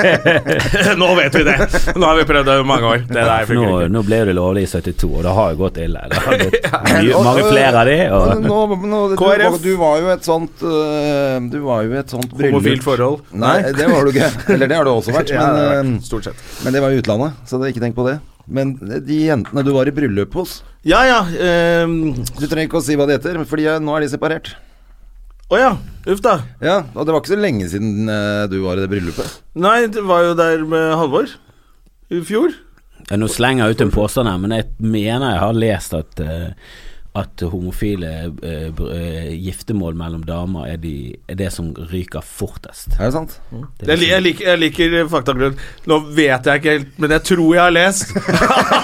S2: Nå vet vi det! Nå har vi prøvd det i mange år. Det der
S3: nå,
S2: funker ikke.
S3: nå ble jo det lovlig i 72, og det har jo gått ille. Det har
S1: [LAUGHS]
S3: gått mye,
S1: Og-
S3: mange flere av de.
S1: og
S3: Og,
S1: Nå, nå, du,
S2: KrF.
S1: var- du var jo et sånt øh, Du var jo et sånt bryllup
S2: Homofilt forhold.
S1: Nei, det var du ikke.
S2: [LAUGHS]
S1: Eller det har du også vært,
S2: Ja, det har
S1: men,
S2: vært,
S1: øh,
S2: stort sett.
S1: men det var i utlandet, så det, ikke tenk på det. Men de jentene du var i bryllup hos
S2: Ja ja. ehm,
S1: Du trenger ikke å si hva de heter, Fordi jeg- nå er de separert.
S2: Å ja. Uff da.
S1: Ja, Og det var ikke så lenge siden øh, du var i det bryllupet.
S2: Nei, det var jo der med Halvor. I fjor.
S3: nå slenger jeg ut en påstand her, men jeg mener jeg har lest at eh, at homofile eh, br- eh, giftermål mellom damer er, de, er det som ryker fortest.
S1: Er det sant?
S3: Det
S2: Jeg,
S3: vil
S2: li-
S3: si-
S2: jeg, liker, jeg liker faktagrunn. Nå vet jeg ikke helt, men jeg tror jeg har lest [LAUGHS]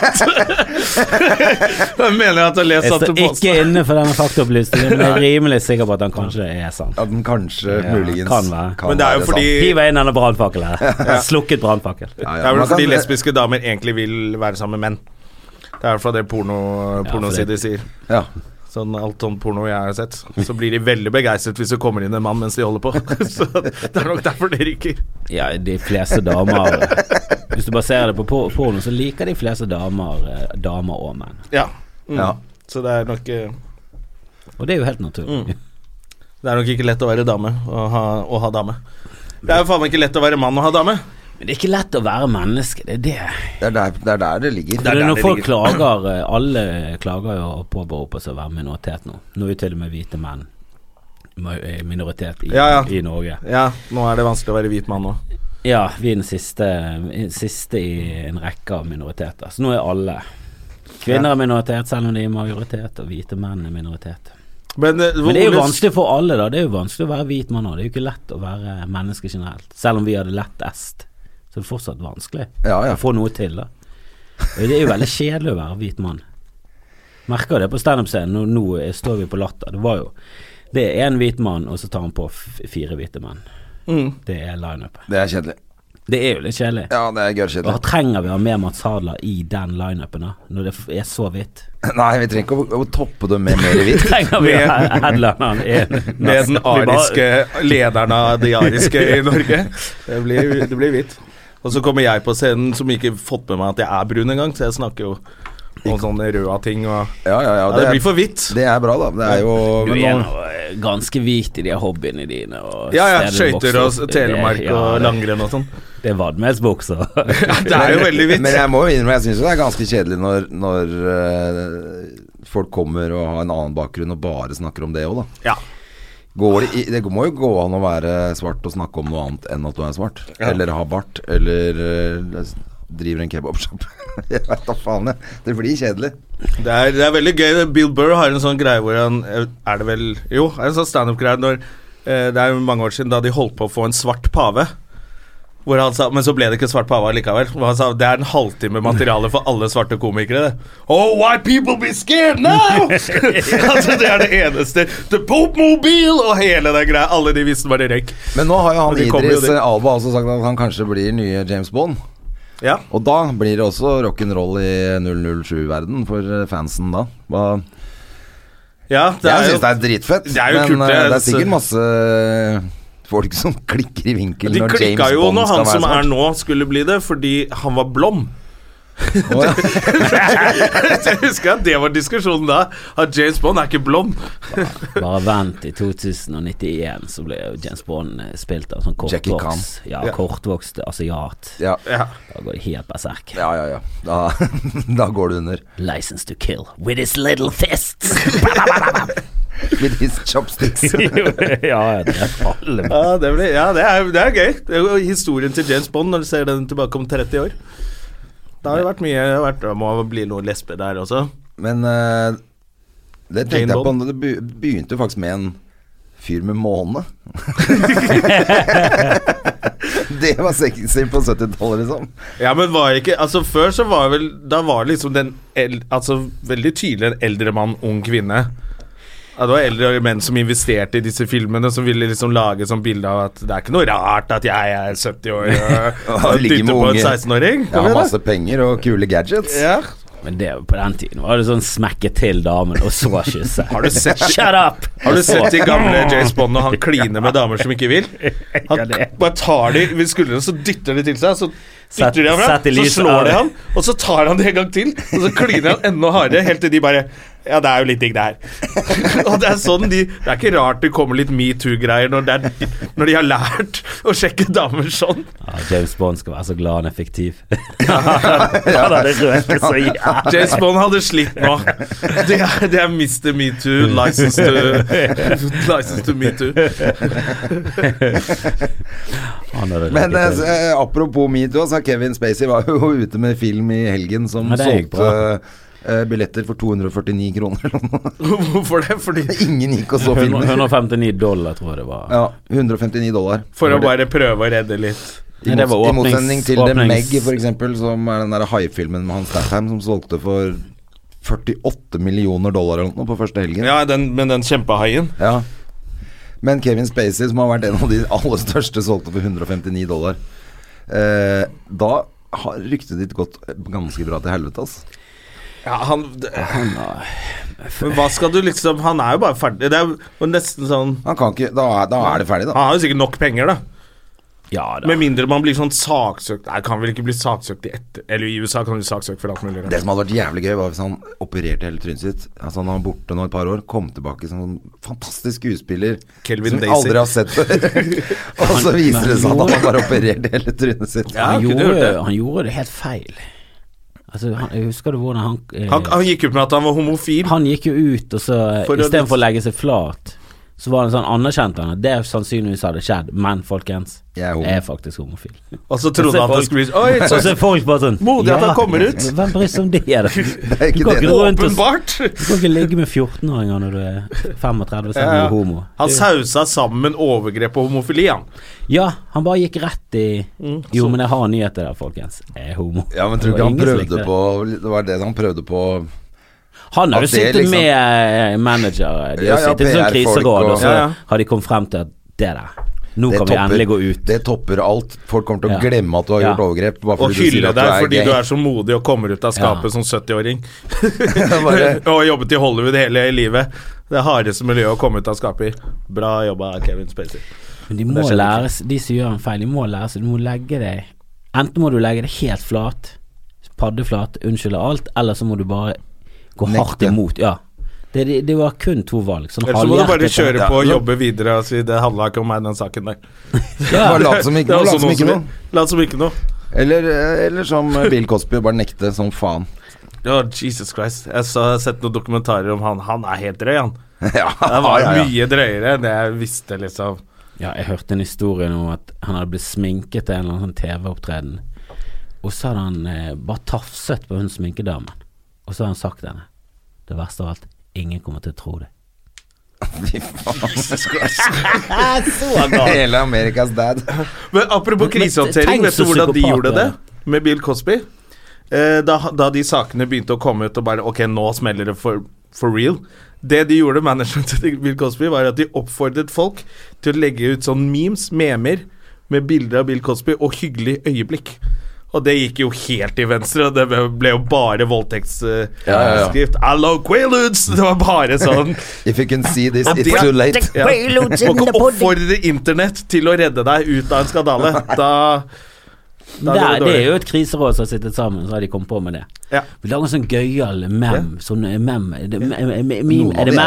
S2: at Jeg mener jeg at jeg har lest
S3: Jeg
S2: at
S3: står
S2: det
S3: ikke inne for denne faktaopplysningen, men jeg er rimelig sikker på at den kanskje er sann.
S1: Ja, den kanskje,
S3: Ja,
S1: muligens
S3: kan være.
S2: Men det er jo
S1: sant.
S2: fordi
S3: Hiv inn denne brannfakkelen her. Slukket brannfakkel.
S1: Ja, ja,
S2: Det er vel
S1: man kan-
S2: fordi lesbiske damer egentlig vil være sammen med menn. Det er fra det porno, pornosider sier.
S1: Ja.
S2: Sånn alt sånn porno jeg har sett. Så blir de veldig begeistret hvis det kommer inn en mann mens de holder på. [LAUGHS] Så det er nok derfor det ryker.
S3: Ja, de fleste damer eh, Hvis du baserer det på por- porno, så liker de fleste damer eh, damer og menn.
S2: Ja. Mm.
S1: Ja.
S2: Så det er nok eh,
S3: Og det er jo helt naturlig.
S2: Det er nok ikke lett å være dame og ha, og ha dame. Det er jo faen meg ikke lett å være mann og ha dame.
S3: Men det er ikke lett å være menneske, det er det.
S1: Det, er der, det er der det ligger.
S3: For når folk klager eh, Alle klager jo og påberoper seg å være minoritet nå. Nå er jo til og med hvite menn ma- eh, minoritet i,
S2: Ja, ja.
S3: i Norge.
S2: Ja, nå er det vanskelig å være hvit mann òg.
S3: Ja, vi er den siste, siste i en rekke av minoriteter. Så nå er alle. Kvinner er minoritet, selv om de er majoritet, og hvite menn er minoritet.
S2: Men, eh, hvor-
S3: Men det er jo
S2: hvor-
S3: vanskelig for alle, da. Det er jo vanskelig å være hvit mann òg. Det er jo ikke lett å være menneske generelt. Selv om vi hadde lett est, så er det fortsatt vanskelig
S1: Ja, ja.
S3: å få noe til, da. Det er jo veldig kjedelig å være hvit mann. Merker det på standup-scenen. Nå, nå eh, står vi på latter. Det var jo Det er én hvit mann, og så tar han på f fire hvite menn.
S2: Mm.
S3: Det er lineupet.
S1: Det er kjedelig.
S3: Det er jo litt kjedelig.
S1: Ja, det er
S3: Og da
S1: gørrkjedelig.
S3: trenger vi å ha med Mats Hadler i den lineupen, da. Når det f- er så hvitt.
S1: [LAUGHS] Nei, vi trenger ikke å, å toppe det med mer
S3: [LAUGHS]
S1: hvitt.
S3: Trenger vi å ha headlineren inn?
S2: Med den
S3: Vi bare-
S2: ariske lederen av de ariske i Norge. Det blir, det blir hvitt. Og så kommer jeg på scenen som ikke fått med meg at jeg er brun engang, så jeg snakker jo om sånne røde ting og
S1: Ja, ja, ja.
S2: Ja, det blir for hvitt.
S1: Det er bra, da. Det er jo
S3: Du
S1: men
S3: er
S1: nå-
S3: nå eh, ganske hvit i de hobbyene dine. Og
S2: Ja, ja.
S3: steder du
S2: Skøyter
S3: vokser
S2: og
S3: opp.
S2: Telemark
S3: Det- ja,
S2: og
S3: det-
S2: langrenn og sånn.
S3: Det er
S2: [LAUGHS]
S3: vadmelsbukser.
S2: Det er jo veldig hvitt.
S1: Men jeg må jo innrømme, jeg syns jo det er ganske kjedelig når, når eh, folk kommer og har en annen bakgrunn og bare snakker om det òg, da.
S2: Ja.
S1: Går det, i, det må jo gå an å være svart og snakke om noe annet enn at du er svart. Eller har bart, eller eh, driver en kebabsjapp. [LAUGHS] jeg veit da faen, jeg. Det blir kjedelig.
S2: Det er, det er veldig gøy. Bill Burr har en sånn greie hvor han Er det vel Jo, er en sånn standup-greie når eh, Det er jo mange år siden da de holdt på å få en svart pave. Hvor han sa, Men så ble det ikke svart pave likevel. Hvor han sa det er en halvtime materiale for alle svarte komikere. det Oh, why people be
S1: [LAUGHS]
S2: scared now! altså Det er det eneste. The Pope Mobile og hele den greia. Alle de visste var det røyk.
S1: Men nå har jo
S2: Men
S1: han
S2: de kommer jo
S1: Idris eh,
S2: dit.
S1: Alba også sagt at han kanskje blir nye James Bond.
S2: Ja.
S1: Og da blir det også rock'n'roll i 007-verden for eh, fansen da. Hva
S2: ja det
S1: jeg
S2: er jo-
S1: syns det er dritfett,
S2: det er jo
S1: men
S2: kult, det
S1: eh,
S2: er-
S1: det er sikkert masse folk som [LAUGHS] klikker i vinkel
S2: de
S1: når James
S2: klikka jo
S1: Bond
S2: når
S1: skal
S2: han
S1: være sånn.
S2: som er
S1: svart.
S2: nå, skulle bli det, fordi han var blond.
S1: Å, ja.
S2: [LAUGHS] Jeg husker at det var diskusjonen da. At James Bond er ikke blond.
S3: [LAUGHS] Bare vent, i 2091 så ble jo James Bond eh, spilt av sånn
S1: Jackie
S3: kortvokst Ja,
S2: Ja.
S3: kortvokst asiat.
S1: [LAUGHS] Ja.
S2: Ja.
S3: Da går det helt berserk.
S1: ja, ja, ja. Da, [LAUGHS] da går det under.
S3: License to kill with his little fists.
S2: [LAUGHS]
S3: [LAUGHS]
S1: With his chopsticks.
S3: ja, det er alle
S2: Ja, det, blir, ja det, er, det er gøy. Det er jo historien til James Bond når du ser den tilbake om 30 år. Det har jo vært mye det har vært, Det må bli noen lesber der også.
S1: Men eh, det
S2: Jane
S1: tenkte jeg på
S2: Bond.
S1: når Det be- begynte jo faktisk med en fyr med
S2: [LAUGHS]
S1: måne. det var sexy på 70-tallet, liksom.
S2: Ja, men var ikke Altså, før så var vel Da var liksom den el, Altså, veldig tydelig en eldre mann, ung kvinne. Ja, det var eldre menn som investerte i disse filmene, som ville liksom lage sånn bilde av at det er ikke noe rart at jeg er 70
S1: [LAUGHS]
S2: år og, og
S1: ligger med
S2: dytter på en
S1: unge.
S2: 16-åring.
S1: Jeg
S2: Kom
S1: har
S2: igjen, da.
S1: masse penger og kule gadgets.
S2: Ja.
S3: Men det, på den tiden var det sånn smekke til damen, og så kysse.
S2: Har du sett-
S3: Shut up!
S2: Har du sett de gamle
S3: [LAUGHS]
S2: James Bond når han kliner med damer som ikke vil? Han bare tar de ved skuldrene, så dytter de til seg. Så
S3: Sett-
S2: dytter de ham
S3: sett i
S2: fram, så
S3: lys av
S2: slår de
S3: det.
S2: ham, og så tar han det en gang til. Og så kliner han enda hardere, helt til de bare Ja, det er jo litt digg, det her. [LAUGHS] og det er sånn de Det er ikke rart det kommer litt metoo-greier når, det er- når de har lært å sjekke damer sånn.
S3: Ja, James Bond skal være så glad han er fiktiv. [LAUGHS] Han hadde røket så jævlig.
S2: James Bond hadde slitt nå. Det er, det er Mr. Metoo, license to, license to metoo.
S3: Han hadde
S1: Men
S3: røket til.
S1: altså, [LAUGHS] eh, apropos metoo, så Kevin Spacey var jo ute med film i helgen som
S3: Ja, det gikk
S1: solgte eh, billetter for 249 kroner eller noe.
S2: [LAUGHS]
S1: [LAUGHS]
S2: Hvorfor det? Fordi
S1: Ingen gikk og så filmen.
S3: 159 dollar, tror jeg det var.
S1: Ja, 159 dollar.
S2: For å bare prøve å redde litt.
S1: I,
S3: Nei, det var
S1: mot, I
S3: åpnings-
S1: motsetning til The
S3: åpnings-
S1: Meg, for eksempel, som er den der haifilmen med Hans Statham som solgte for 48 millioner dollar eller noe på første helgen.
S2: Ja, den, men den kjempehaien.
S1: Ja. Men Kevin Spacey, som har vært en av de aller største, solgte for 159 dollar. Eh, da har ryktet ditt gått ganske bra til helvete, ass.
S2: Ja, han Men hva skal du liksom Han er jo bare ferdig. Det er jo nesten sånn
S1: Han kan ikke, da, er- da er det ferdig,
S2: Han
S1: da.
S2: har jo sikkert nok penger, da.
S3: Ja da.
S2: Med mindre man blir sånn saksøkt Nei, kan vel ikke bli saksøkt i etter... Eller i USA kan du bli saksøkt for alt mulig.
S1: Det som hadde vært jævlig gøy, var hvis han opererte hele trynet sitt. Altså Han var borte nå et par år, kom tilbake som en fantastisk skuespiller
S2: Kelvin
S1: som vi
S2: Daisy.
S1: aldri har sett
S2: [LAUGHS]
S1: før. Og så viser det seg at han har bare operert hele trynet sitt.
S2: Ja,
S3: han,
S2: kunne du hørt
S3: gjorde,
S2: det?
S3: han gjorde det helt feil. Altså, han, jeg husker du hvordan han eh,
S2: Han, han gikk ut med at han var homofil.
S3: Han gikk jo ut, og så eh,
S2: For å-
S3: istedenfor å legge sseg flat, så var han sånn anerkjente han at det sannsynligvis hadde skjedd, men folkens,
S1: Jeg er homo.
S3: jeg er faktisk homofil.
S2: Og så trodde
S3: Så
S2: han at det
S3: folk-
S2: skulle bli Oi,
S3: Så ser folk bare sånn
S2: Modig at han kommer ut.
S3: men Hvem bryr seg om det? Da?
S1: er ikke
S3: du kan
S1: [LAUGHS] det.
S3: ikke gå rundt og s-
S2: Åpenbart!
S3: Du kan ikke ligge med 14-åringer når du er 35 og
S2: Ja,
S3: er
S2: ja.
S3: homo.
S2: Han sausa sammen overgrep og homofili, han.
S3: Ja, han bare gikk rett i
S2: Mm.
S3: Jo, men jeg har nyheter der, folkens. Jeg er homo.
S1: Ja, men tror
S3: Det
S1: ikke
S3: var
S1: han
S3: ingen som likte
S1: prøvde
S3: det.
S1: på Det var det han prøvde på
S3: Han har jo
S1: At det
S3: sittet
S1: liksom-
S3: med eh, manager De
S1: Ja,
S3: har
S1: ja,
S3: sittet i sånn
S1: PR-folk
S3: kriseråd,
S1: og-
S3: og så
S2: Ja, ja.
S3: har de kommet frem til at det der Nå
S1: Det
S3: kan vi endelig gå ut.
S1: Det topper alt. Folk kommer til å
S3: Ja.
S1: glemme at du har
S3: Ja.
S1: gjort overgrep. Bare
S2: Og
S1: fordi du sier
S2: hylle
S1: at
S2: deg fordi
S1: gay.
S2: du
S1: [LAUGHS]
S2: er så modig og kommer ut av skapet
S3: Ja.
S2: som 70-åring.
S1: Bare-
S2: [LAUGHS] og har jobbet i Hollywood hele livet. Det hardeste miljøet å komme ut av skapet i. Bra jobba, Kevin Spacey.
S3: Men de må
S2: skjedde
S3: lære seg De som gjør en feil, de må lære seg Du må legge deg Enten må du legge deg helt flat, paddeflat, unnskylde alt, eller så må du bare gå hardt
S1: Nekte.
S3: imot. Ja. Det, det, det var kun to valg. Sånn
S2: Ellers så må du bare
S3: halvhjertet-
S2: kjøre på og
S1: Ja.
S2: jobbe videre og si det handla ikke om meg, den saken der.
S1: Bare lat som ikke
S2: [LAUGHS] Det er
S1: noe.
S2: også
S1: Lat som
S2: noen
S1: ikke noe.
S2: Lat som ikke noe.
S1: Eller, eh, eller som
S2: [LAUGHS]
S1: Bill Cosby, bare nekte som faen.
S2: Ja, Jesus Christ. Jeg så- har sett noen dokumentarer om han. Han er helt drøy,
S1: [LAUGHS]
S2: han.
S1: ja,
S2: Det var
S1: ja, ja.
S2: mye drøyere enn det jeg visste, liksom.
S3: Ja, jeg hørte en historie om at han hadde blitt sminket til en eller annen sånn TV-opptreden. Og så hadde han eh, bare tafset på hun sminkedamen. Og så hadde han sagt til henne Det verste av alt, ingen kommer til å tro det.
S1: Fy faen. [LAUGHS] Hele Amerikas dad.
S2: Men apropos
S3: Men- men
S2: krisehåndtering,
S3: tenk
S2: vet du
S3: så
S2: hvordan de
S3: psykopat
S2: gjorde
S3: det er.
S2: det med Bill Cosby? Eh, da, da de sakene begynte å komme ut og bare Ok, nå smeller det for, for real. Det de gjorde, managementet [LAUGHS] til Bill Cosby, var at de oppfordret folk til å legge ut sånn memes, memer, med bilder av Bill Cosby og hyggelig øyeblikk. Og det gikk jo helt til venstre, og det ble- ble jo bare voldtektsskrift.
S1: Ja, ja, ja.
S2: Hello, Quaaludes! Det var bare sånn.
S1: If you can see this,
S2: Ja, det
S1: it's
S2: er-
S1: too late.
S2: Ja. Man kan oppfordre internett til å redde deg ut av en skandale. Da,
S3: Det er,
S2: da
S3: det er
S2: dårlig.
S3: jo et kriseråd som har sittet sammen, så har de kommet på med det.
S2: Ja.
S3: Vi lager en sånn gøyal mem. Sånn eh, mem Er det mem? Er det mem? Er det
S2: [LAUGHS]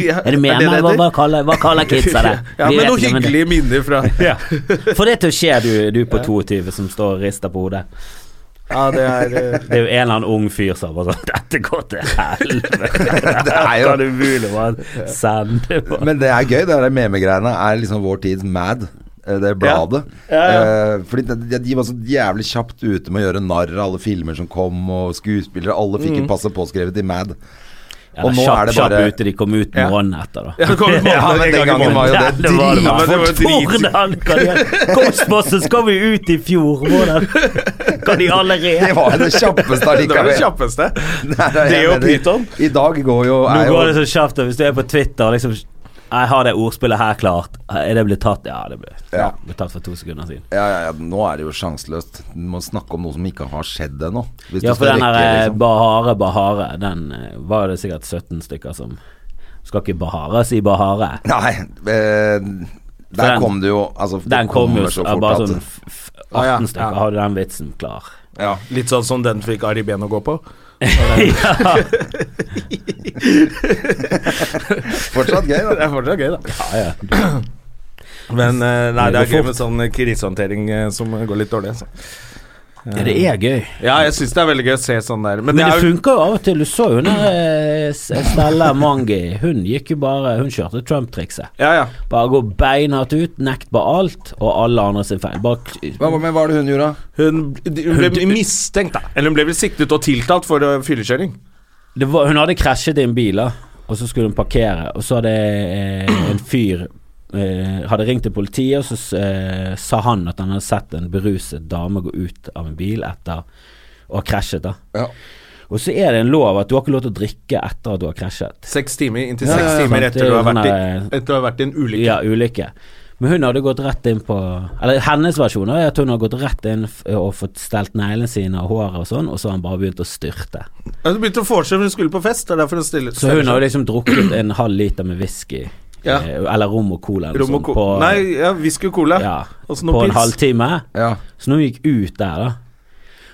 S2: Ja,
S3: meme? Er det
S2: er det
S3: meme?
S2: det
S3: Hva,
S2: heter?
S3: hva kaller, hva kaller
S2: [LAUGHS]
S3: kidsa det? Vi
S2: Ja, men
S3: vet ikke, men
S2: noen
S3: det-
S2: hyggelige minner fra
S3: Ja. [LAUGHS] Få det til å skje, du, du på 22 som står og rister på hodet.
S2: Ja, det er eh,
S3: Det er jo en eller annen ung fyr som bare sånn Dette går til helvete.
S1: [LAUGHS] Det er jo-
S3: Kan du mulig bare sende på?
S1: Men det er gøy, det der memegreiene er liksom vår tids mad. eh, Det bladet. Eh, fordi de, de var så jævlig kjapt ute med å gjøre narr av alle filmer som kom, og skuespillere. Alle fikk en passe påskrevet i Mad.
S3: Eller kjapp, kjapp ute, de kom ut
S2: Ja.
S3: måneden etter, da.
S2: [LAUGHS] Ja, det kommer
S1: Ja,
S2: måneder
S1: men
S2: en
S1: den
S2: gang i
S1: gangen var
S2: måneden.
S1: jo
S3: Ja,
S1: det
S3: det var det.
S2: Ja, men det var jo dritkult.
S3: Hvordan kan de Ghostbusters kom jo ut i fjor, hvordan kan de
S1: Det
S3: allerede
S1: var jo det kjappeste
S2: [LAUGHS] Det var det
S1: allikevel.
S2: kjappeste.
S1: [LAUGHS] Nei, nei,
S2: Det
S1: jeg
S2: og
S1: mener,
S2: Python.
S1: I dag går jo,
S3: Nå
S1: er jo
S3: går det så kjapt, og hvis du er på Twitter liksom Jeg har det ordspillet her klart. Er det blitt tatt? Ja, det ble,
S1: Ja.
S3: ble tatt for to sekunder siden.
S1: ja, ja, ja, Nå er det jo sjanseløst. Du må snakke om noe som ikke har skjedd ennå. Hvis
S3: Ja,
S1: du
S3: for
S1: skal
S3: den her
S1: rekke,
S3: eh,
S1: liksom.
S3: Bahare Bahare, den eh, var det sikkert 17 stykker som Skal ikke Bahare si Bahare?
S1: Nei, eh, der
S3: den-
S1: kom det jo altså, det
S3: Den kom jo
S1: kommer
S3: så bare
S1: at-
S3: sånn f- f-
S2: Ah, ja,
S3: 18 stykker
S2: ja.
S3: hadde den vitsen klar.
S1: ja.
S2: Litt sånn som den fikk Ari Behn å gå på.
S3: [LAUGHS] ja.
S1: Fortsatt gøy,
S2: Det
S1: da.
S3: [LAUGHS]
S2: er fortsatt gøy, da.
S3: ja.
S2: [CLEARS THROAT] Men eh, nei, det
S3: Det
S2: er
S3: går
S2: gøy med sånn krisehåndtering eh, som går litt dårlig. Så.
S3: ja, det er gøy.
S2: Ja, jeg syns det er veldig gøy å se sånn der. Men,
S3: Men det
S2: det er jo
S3: funker jo av og til. Du så jo når eh, S- Stella Mangi Hun gikk jo bare Hun kjørte Trump-trikset.
S2: Ja, ja.
S3: Bare gå beinhardt ut, nekt på alt, og alle andre sin feil. Bare k-
S1: Hva, men hva er det hun gjorde, da?
S2: Hun, hun ble mistenkt, da. Eller hun ble vel siktet og tiltalt for eh, fyllekjøring.
S3: det var, Hun hadde krasjet i en bil, da. Og så skulle hun parkere, og så hadde eh, en fyr eh, Hadde ringt til politiet, og så s- eh, sa han at han hadde sett en beruset dame gå ut av en bil etter å ha krasjet, da.
S1: Ja.
S3: Og så er det en lov at du har ikke lov til å drikke etter at du har krasjet.
S2: Seks timer, inntil
S3: Ja,
S2: seks
S3: ja, ja, sant,
S2: timer
S3: det er
S2: etter du,
S3: jo
S2: har vært i,
S3: sånn
S2: etter du har vært i en ulykke.
S3: Ja, ulykke. Men hun hadde gått rett inn på Eller hennes versjon er at hun har gått rett inn f- og fått stelt neglene sine og håret og sånn, og så har han bare begynt å styrte.
S2: Ja, Hun begynte å få seg, hun skulle på fest. Det er derfor hun stiller
S3: Så hun har jo liksom drukket en halv liter med whisky,
S2: Ja.
S3: eh, eller rom og cola eller
S2: Rom og
S3: sånn,
S2: co-
S3: på,
S2: Nei, ja, whisky og cola.
S3: ja,
S2: Og så
S3: på
S2: noe
S3: en
S2: pils.
S3: halvtime.
S1: Ja.
S3: Så når hun gikk ut der, da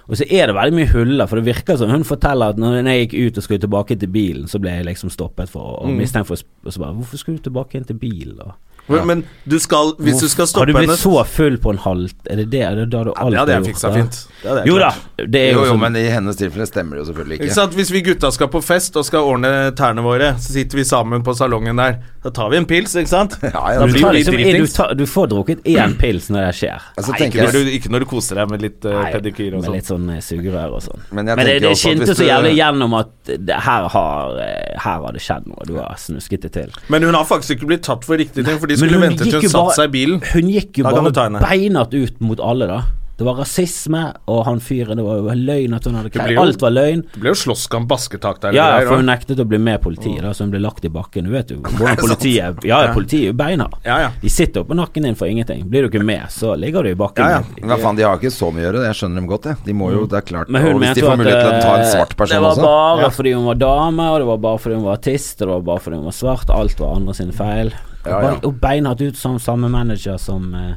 S3: Og så er det veldig mye huller, for det virker som hun forteller at når jeg gikk ut og skulle tilbake til bilen, så ble jeg liksom stoppet for
S2: Mm.
S3: og mistenkt for å sp- Og så bare Hvorfor skulle du tilbake inn til bilen, da?
S2: Men- Men du skal, hvis du skal stoppe
S3: Har du blitt
S2: henne
S3: så full på en halv Er det det? Er det da du
S2: Det
S3: alltid
S2: hadde jeg
S3: gjort,
S2: fiksa
S3: da?
S2: fint. Det hadde jeg
S3: Jo da,
S2: klart.
S3: det er jo,
S1: Jo, jo,
S3: sånn-
S1: men i hennes tilfelle stemmer det jo selvfølgelig
S2: Ikke
S1: ikke.
S2: sant? Hvis vi gutta skal på fest og skal ordne tærne våre, så sitter vi sammen på salongen der. Da tar vi en pils, ikke sant?
S1: Ja, ja,
S3: Du,
S2: Da blir
S3: tar
S2: vi
S3: liksom, du,
S2: dritings.
S3: tar, du får drukket
S2: [CLEARS THROAT]
S3: én pils når det skjer.
S1: Altså,
S2: Nei,
S1: tenker
S2: ikke,
S1: jeg-
S2: når du, ikke når du koser deg med litt eh,
S3: Nei,
S2: pedikyr og
S3: Med
S2: sånn.
S3: litt sånn eh, sugerør og sånn.
S1: Men
S3: Men,
S1: jeg tenker
S3: det,
S1: også
S3: det
S1: at hvis
S3: skinte så
S1: du-
S3: jævlig gjennom at det, her, har, eh, her har det skjedd noe. Du har snusket det til.
S2: Men hun har faktisk ikke blitt tatt for riktige ting, for de
S3: Men
S2: skulle
S3: hun
S2: vente til
S3: gikk
S2: hun
S3: jo bare-
S2: satte seg i bilen.
S3: Hun gikk jo
S2: Da kan du ta
S3: bare
S2: henne.
S3: beinhardt ut mot alle, da. Det var rasisme, og han fyren Det var jo løgn at hun hadde
S2: blir
S3: klær.
S2: jo-
S3: Alt var løgn.
S2: Det ble jo slåsskamp, basketak der.
S3: Ja,
S2: eller
S3: for hun
S2: der, da. Mm.
S3: nektet å bli med politiet, da, så hun ble lagt i bakken. Du vet
S2: [LAUGHS]
S3: jo hvordan politiet Ja, ja, politiet er jo beina.
S2: Ja, ja.
S3: De sitter jo på nakken din for ingenting. Blir du ikke med, så ligger du i bakken.
S2: Ja, ja.
S1: Men Hva faen, De har ikke så mye å gjøre, jeg skjønner dem godt. Jeg. De må jo, det er klart
S3: Mm. Men hun
S1: Og hvis
S3: mente
S1: de
S3: jo
S1: får
S3: at
S1: mulighet til å ta en
S3: eh,
S1: svart
S3: det
S1: person
S3: var
S1: også.
S3: bare fordi hun var dame, og det var bare fordi hun var artist, og det var bare fordi hun var svart. Alt var andre sine feil.
S1: Ja,
S3: Og
S1: ja.
S3: bein- Og beinhardt ut som samme manager som eh,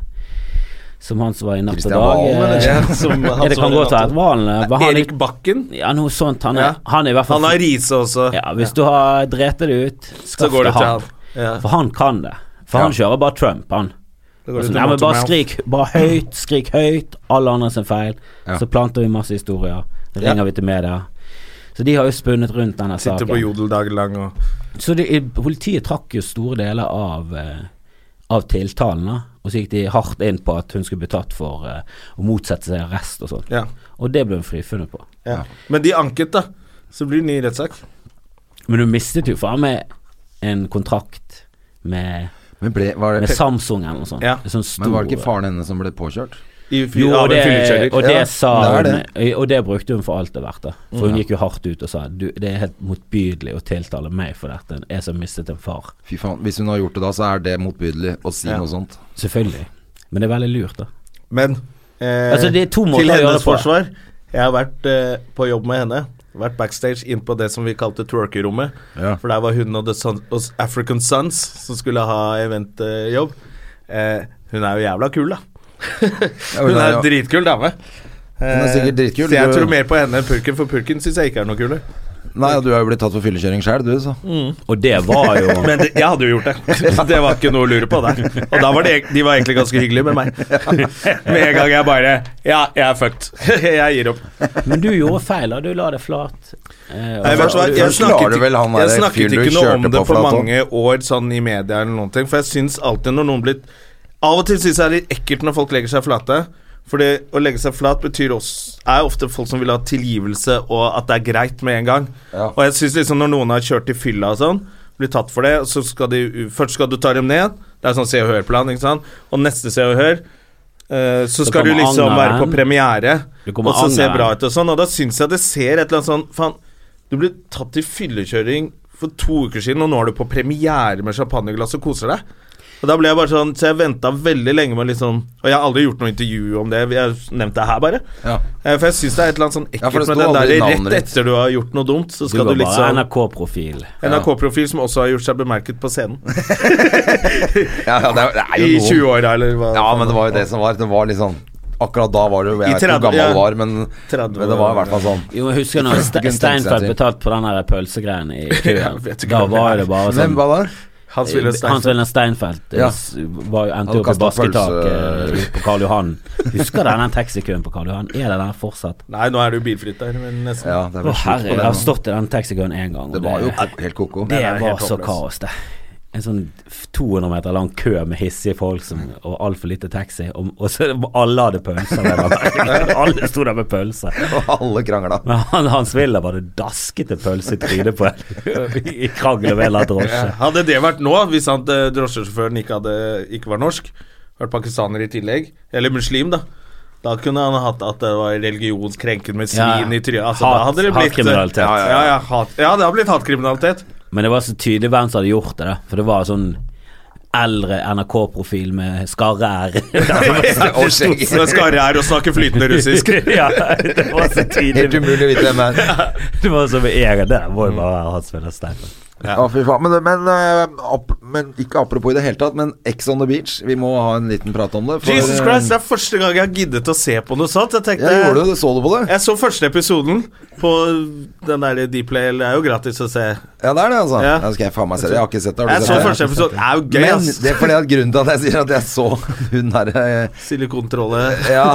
S3: Som han som var i Natt og
S1: Christian
S3: Dag.
S1: Valen,
S3: eh,
S1: eller?
S2: Ja, som
S3: [LAUGHS]
S2: han
S3: ja, det
S2: som
S3: kan
S2: var
S3: godt
S2: i
S3: være
S2: natt.
S3: at Valen eh, var han
S2: Erik
S3: i-
S2: Bakken.
S3: Ja, noe sånt. Han er,
S2: Ja.
S3: han er i hvert fall
S2: Han har Riise også.
S3: ja, Hvis du har drept det ut,
S2: så
S3: skaff
S2: går det
S3: deg
S2: til
S3: han.
S2: han. Ja.
S3: For han kan det. For han kjører bare Trump, han.
S2: Det går
S3: Altså,
S2: til
S3: nei, men
S2: Morten
S3: bare
S2: Mjau.
S3: skrik bare høyt, skrik høyt. Alle andre sin feil. Så planter vi masse historier. Så ringer vi til media. Så de har jo spunnet rundt denne
S2: Sitter på
S3: saken.
S2: jodel dagen lang og
S3: Så det, politiet trakk jo store deler av, eh, av tiltalen, da. Og så gikk de hardt inn på at hun skulle bli tatt for eh, å motsette seg arrest og sånn.
S2: Ja.
S3: Og det ble hun frifunnet på.
S2: ja. Men de anket, da. Så blir det ny rettssak.
S3: Men hun mistet jo faen meg en kontrakt med,
S1: Men, ble, var
S3: med
S1: det,
S3: Samsung eller noe sånt.
S2: Ja.
S3: En Sånn stor,
S1: men var det ikke faren hennes som ble påkjørt?
S2: I fy-
S3: Jo,
S2: av
S3: og
S2: en
S3: det,
S2: fyllekjører.
S3: og det
S1: Ja,
S3: sa
S1: det
S3: hun, eh,
S1: er
S3: og det brukte hun for alt det verdt. da. For hun gikk jo hardt ut og sa du, det er helt motbydelig å tiltale meg for dette, jeg som mistet en far.
S1: Fy faen, Hvis hun har gjort det da, så er det motbydelig å si noe sånt.
S3: Selvfølgelig. Men det er veldig lurt, da.
S2: Men eh,
S3: Altså, det er to måter å
S2: til
S3: gjøre
S2: hennes
S3: det på.
S2: forsvar Jeg har vært eh, på jobb med henne. Vært backstage inn på det som vi kalte twerkerommet.
S1: Ja.
S2: For der var hun og The Sun, og African Sons som skulle ha eventjobb. Eh, hun er jo jævla kul, da. [LAUGHS]
S1: hun
S2: hun
S1: er jo-
S2: er en dritkul dame. Eh,
S1: Hun er sikkert dritkul.
S2: Så jeg
S1: Du-
S2: tror mer på henne enn purken, for purken syns jeg ikke er noe kul.
S1: Nei, og du har jo blitt tatt for fyllekjøring sjøl, du, så.
S3: Mm. Og det var jo
S2: [LAUGHS] Men det, jeg hadde jo gjort det. Så det var ikke noe å lure på der. Og da var det, eg- de var egentlig ganske hyggelige med meg. [LAUGHS] Med en gang jeg bare Ja, jeg er fucked. [LAUGHS] Jeg gir opp.
S3: Men du gjorde feil, da. Du la det flat. Eh, og-
S2: Nei, vet du hva,
S1: Først
S2: jeg
S1: la
S2: snakket,
S1: du vel han
S2: jeg
S1: der
S2: snakket
S1: fyren du
S2: ikke noe om
S1: kjørte på
S2: det for
S1: flat hånd.
S2: mange år sånn i media eller noen ting, for jeg syns alltid når noen blir Av og til syns jeg det er litt ekkelt når folk legger seg flate. For det å legge seg flat betyr også, er ofte folk som vil ha tilgivelse, og at det er greit med en gang.
S1: Ja.
S2: Og jeg syns liksom når noen har kjørt i fylla og sånn, blir tatt for det, og så skal de Først skal du ta dem ned, det er sånn Se og Hør-plan, ikke sant, og neste Se og Hør eh, så skal du
S3: kommer
S2: liksom være på
S3: angeren.
S2: premiere,
S3: Du
S2: og
S3: kommer
S2: så se
S3: angeren.
S2: bra ut og sånn. Og da syns jeg det ser et eller annet sånn Faen, du ble tatt til fyllekjøring for to uker siden, og nå er du på premiere med champagneglass og koser deg. Og da ble jeg bare sånn Så jeg venta veldig lenge med liksom Og jeg har aldri gjort noe intervju om det, jeg har nevnt det her, bare.
S1: Ja.
S2: Eh, For jeg syns det er et eller annet sånn
S1: Ja, for det
S2: ekkelt med
S1: sto
S2: den der
S1: aldri navnet
S2: rett
S1: ditt.
S2: etter du har gjort noe dumt, så
S3: du
S2: skal
S3: var bare
S2: du, liksom
S3: NRK-profil.
S2: NRK-profil som også har gjort seg bemerket på scenen.
S1: Ja, ja, det er, det er
S2: I
S1: jo noe.
S2: 20-åra, eller hva.
S1: Ja, men det var jo det som var. Det var litt sånn Akkurat da var det jo Jeg
S2: I
S1: vet ikke hvor
S2: 30,
S1: gammel
S2: ja.
S1: du var, men,
S2: 30
S1: men det var i hvert fall sånn.
S3: Jo, jeg husker
S2: [LAUGHS]
S3: når Ste-
S1: kunne tenkt seg
S3: Steinfeld
S1: til.
S3: betalte på den der pølsegreien i
S2: Jeg
S3: køen.
S2: vet ikke
S3: Da
S2: hva det
S3: var
S2: er.
S3: det bare
S1: Hvem
S3: sånn
S1: var det?
S2: Hans Wilhelm
S3: Hans
S2: Steinfeld.
S3: Wilhelm Steinfeld eh,
S1: Ja.
S3: s- var jo, endte
S1: Han
S3: jo opp i
S1: kastet
S3: basketak
S1: pølse.
S3: eh, på Karl Johan. Husker du denne taxikøen på Karl Johan? Er det der fortsatt?
S2: Nei, nå er det jo bilfritt der, men nesten.
S1: Ja, det
S3: Å
S1: var slutt
S3: herre,
S1: på
S3: jeg
S1: det.
S3: har
S1: nå.
S3: stått i den taxikøen én gang. og
S1: Det var jo
S3: det,
S1: helt ko-ko.
S3: det
S2: er helt
S3: var så
S2: håpløst.
S3: kaos, det. en sånn 200 meter lang kø med hissige folk som, og altfor lite taxi. Og, og så alle hadde pølser. der, [LAUGHS] da. alle sto der med pølser.
S1: Og [LAUGHS] alle krangla.
S3: Men han, Hans Wilhelm hadde dasket en pølse i trynet på en i krangel om en eller annen drosje.
S2: Hadde det vært nå, hvis han, eh, drosjesjåføren ikke, hadde, ikke var norsk, vært pakistaner i tillegg, eller muslim, da da kunne han hatt at det var religionskrenken med
S3: Ja, ja.
S2: svin i trynet. Altså,
S3: Hat-
S2: da hadde det blitt, eh,
S3: hatkriminalitet.
S2: Ja, ja, ja, hat, ja, det hadde
S3: [LAUGHS]
S2: blitt hatkriminalitet.
S3: Men det var så tydelig hvem som hadde gjort det, da. For det var sånn eldre NRK-profil med
S1: [LAUGHS]
S3: skarre-r.
S1: Og skjegg.
S2: Så jeg skal her og snakke flytende
S3: [LAUGHS]
S2: russisk.
S3: ja, det var så
S1: Helt
S3: tydelig.
S1: umulig å vite hvem det er.
S3: Det var så med en gang. Det der må jo bare være Hans Wilhelm Steifen.
S1: Ja, fy faen. Men, men, eh, ap- men ikke apropos i det hele tatt, men Ex on the beach. Vi må ha en liten prat om det. for, eh,
S2: Jesus Christ, det er første gang jeg har giddet å se på noe sånt. Jeg tenkte
S1: Ja, gjorde du det? Så du på det?
S2: Jeg så første episoden på den der Dplay. Det er jo gratis å se.
S1: Ja, det er det, altså.
S2: Ja.
S1: Ja. skal jeg faen meg se det. Jeg har ikke sett det. Har
S2: Jeg
S1: du
S2: så
S1: sett det?
S2: første episode. Det er jo gøy,
S1: Men
S2: ass.
S1: det er fordi at grunnen til at jeg sier at jeg så hun derre
S2: [LAUGHS] Silikontrolle.
S1: Ja,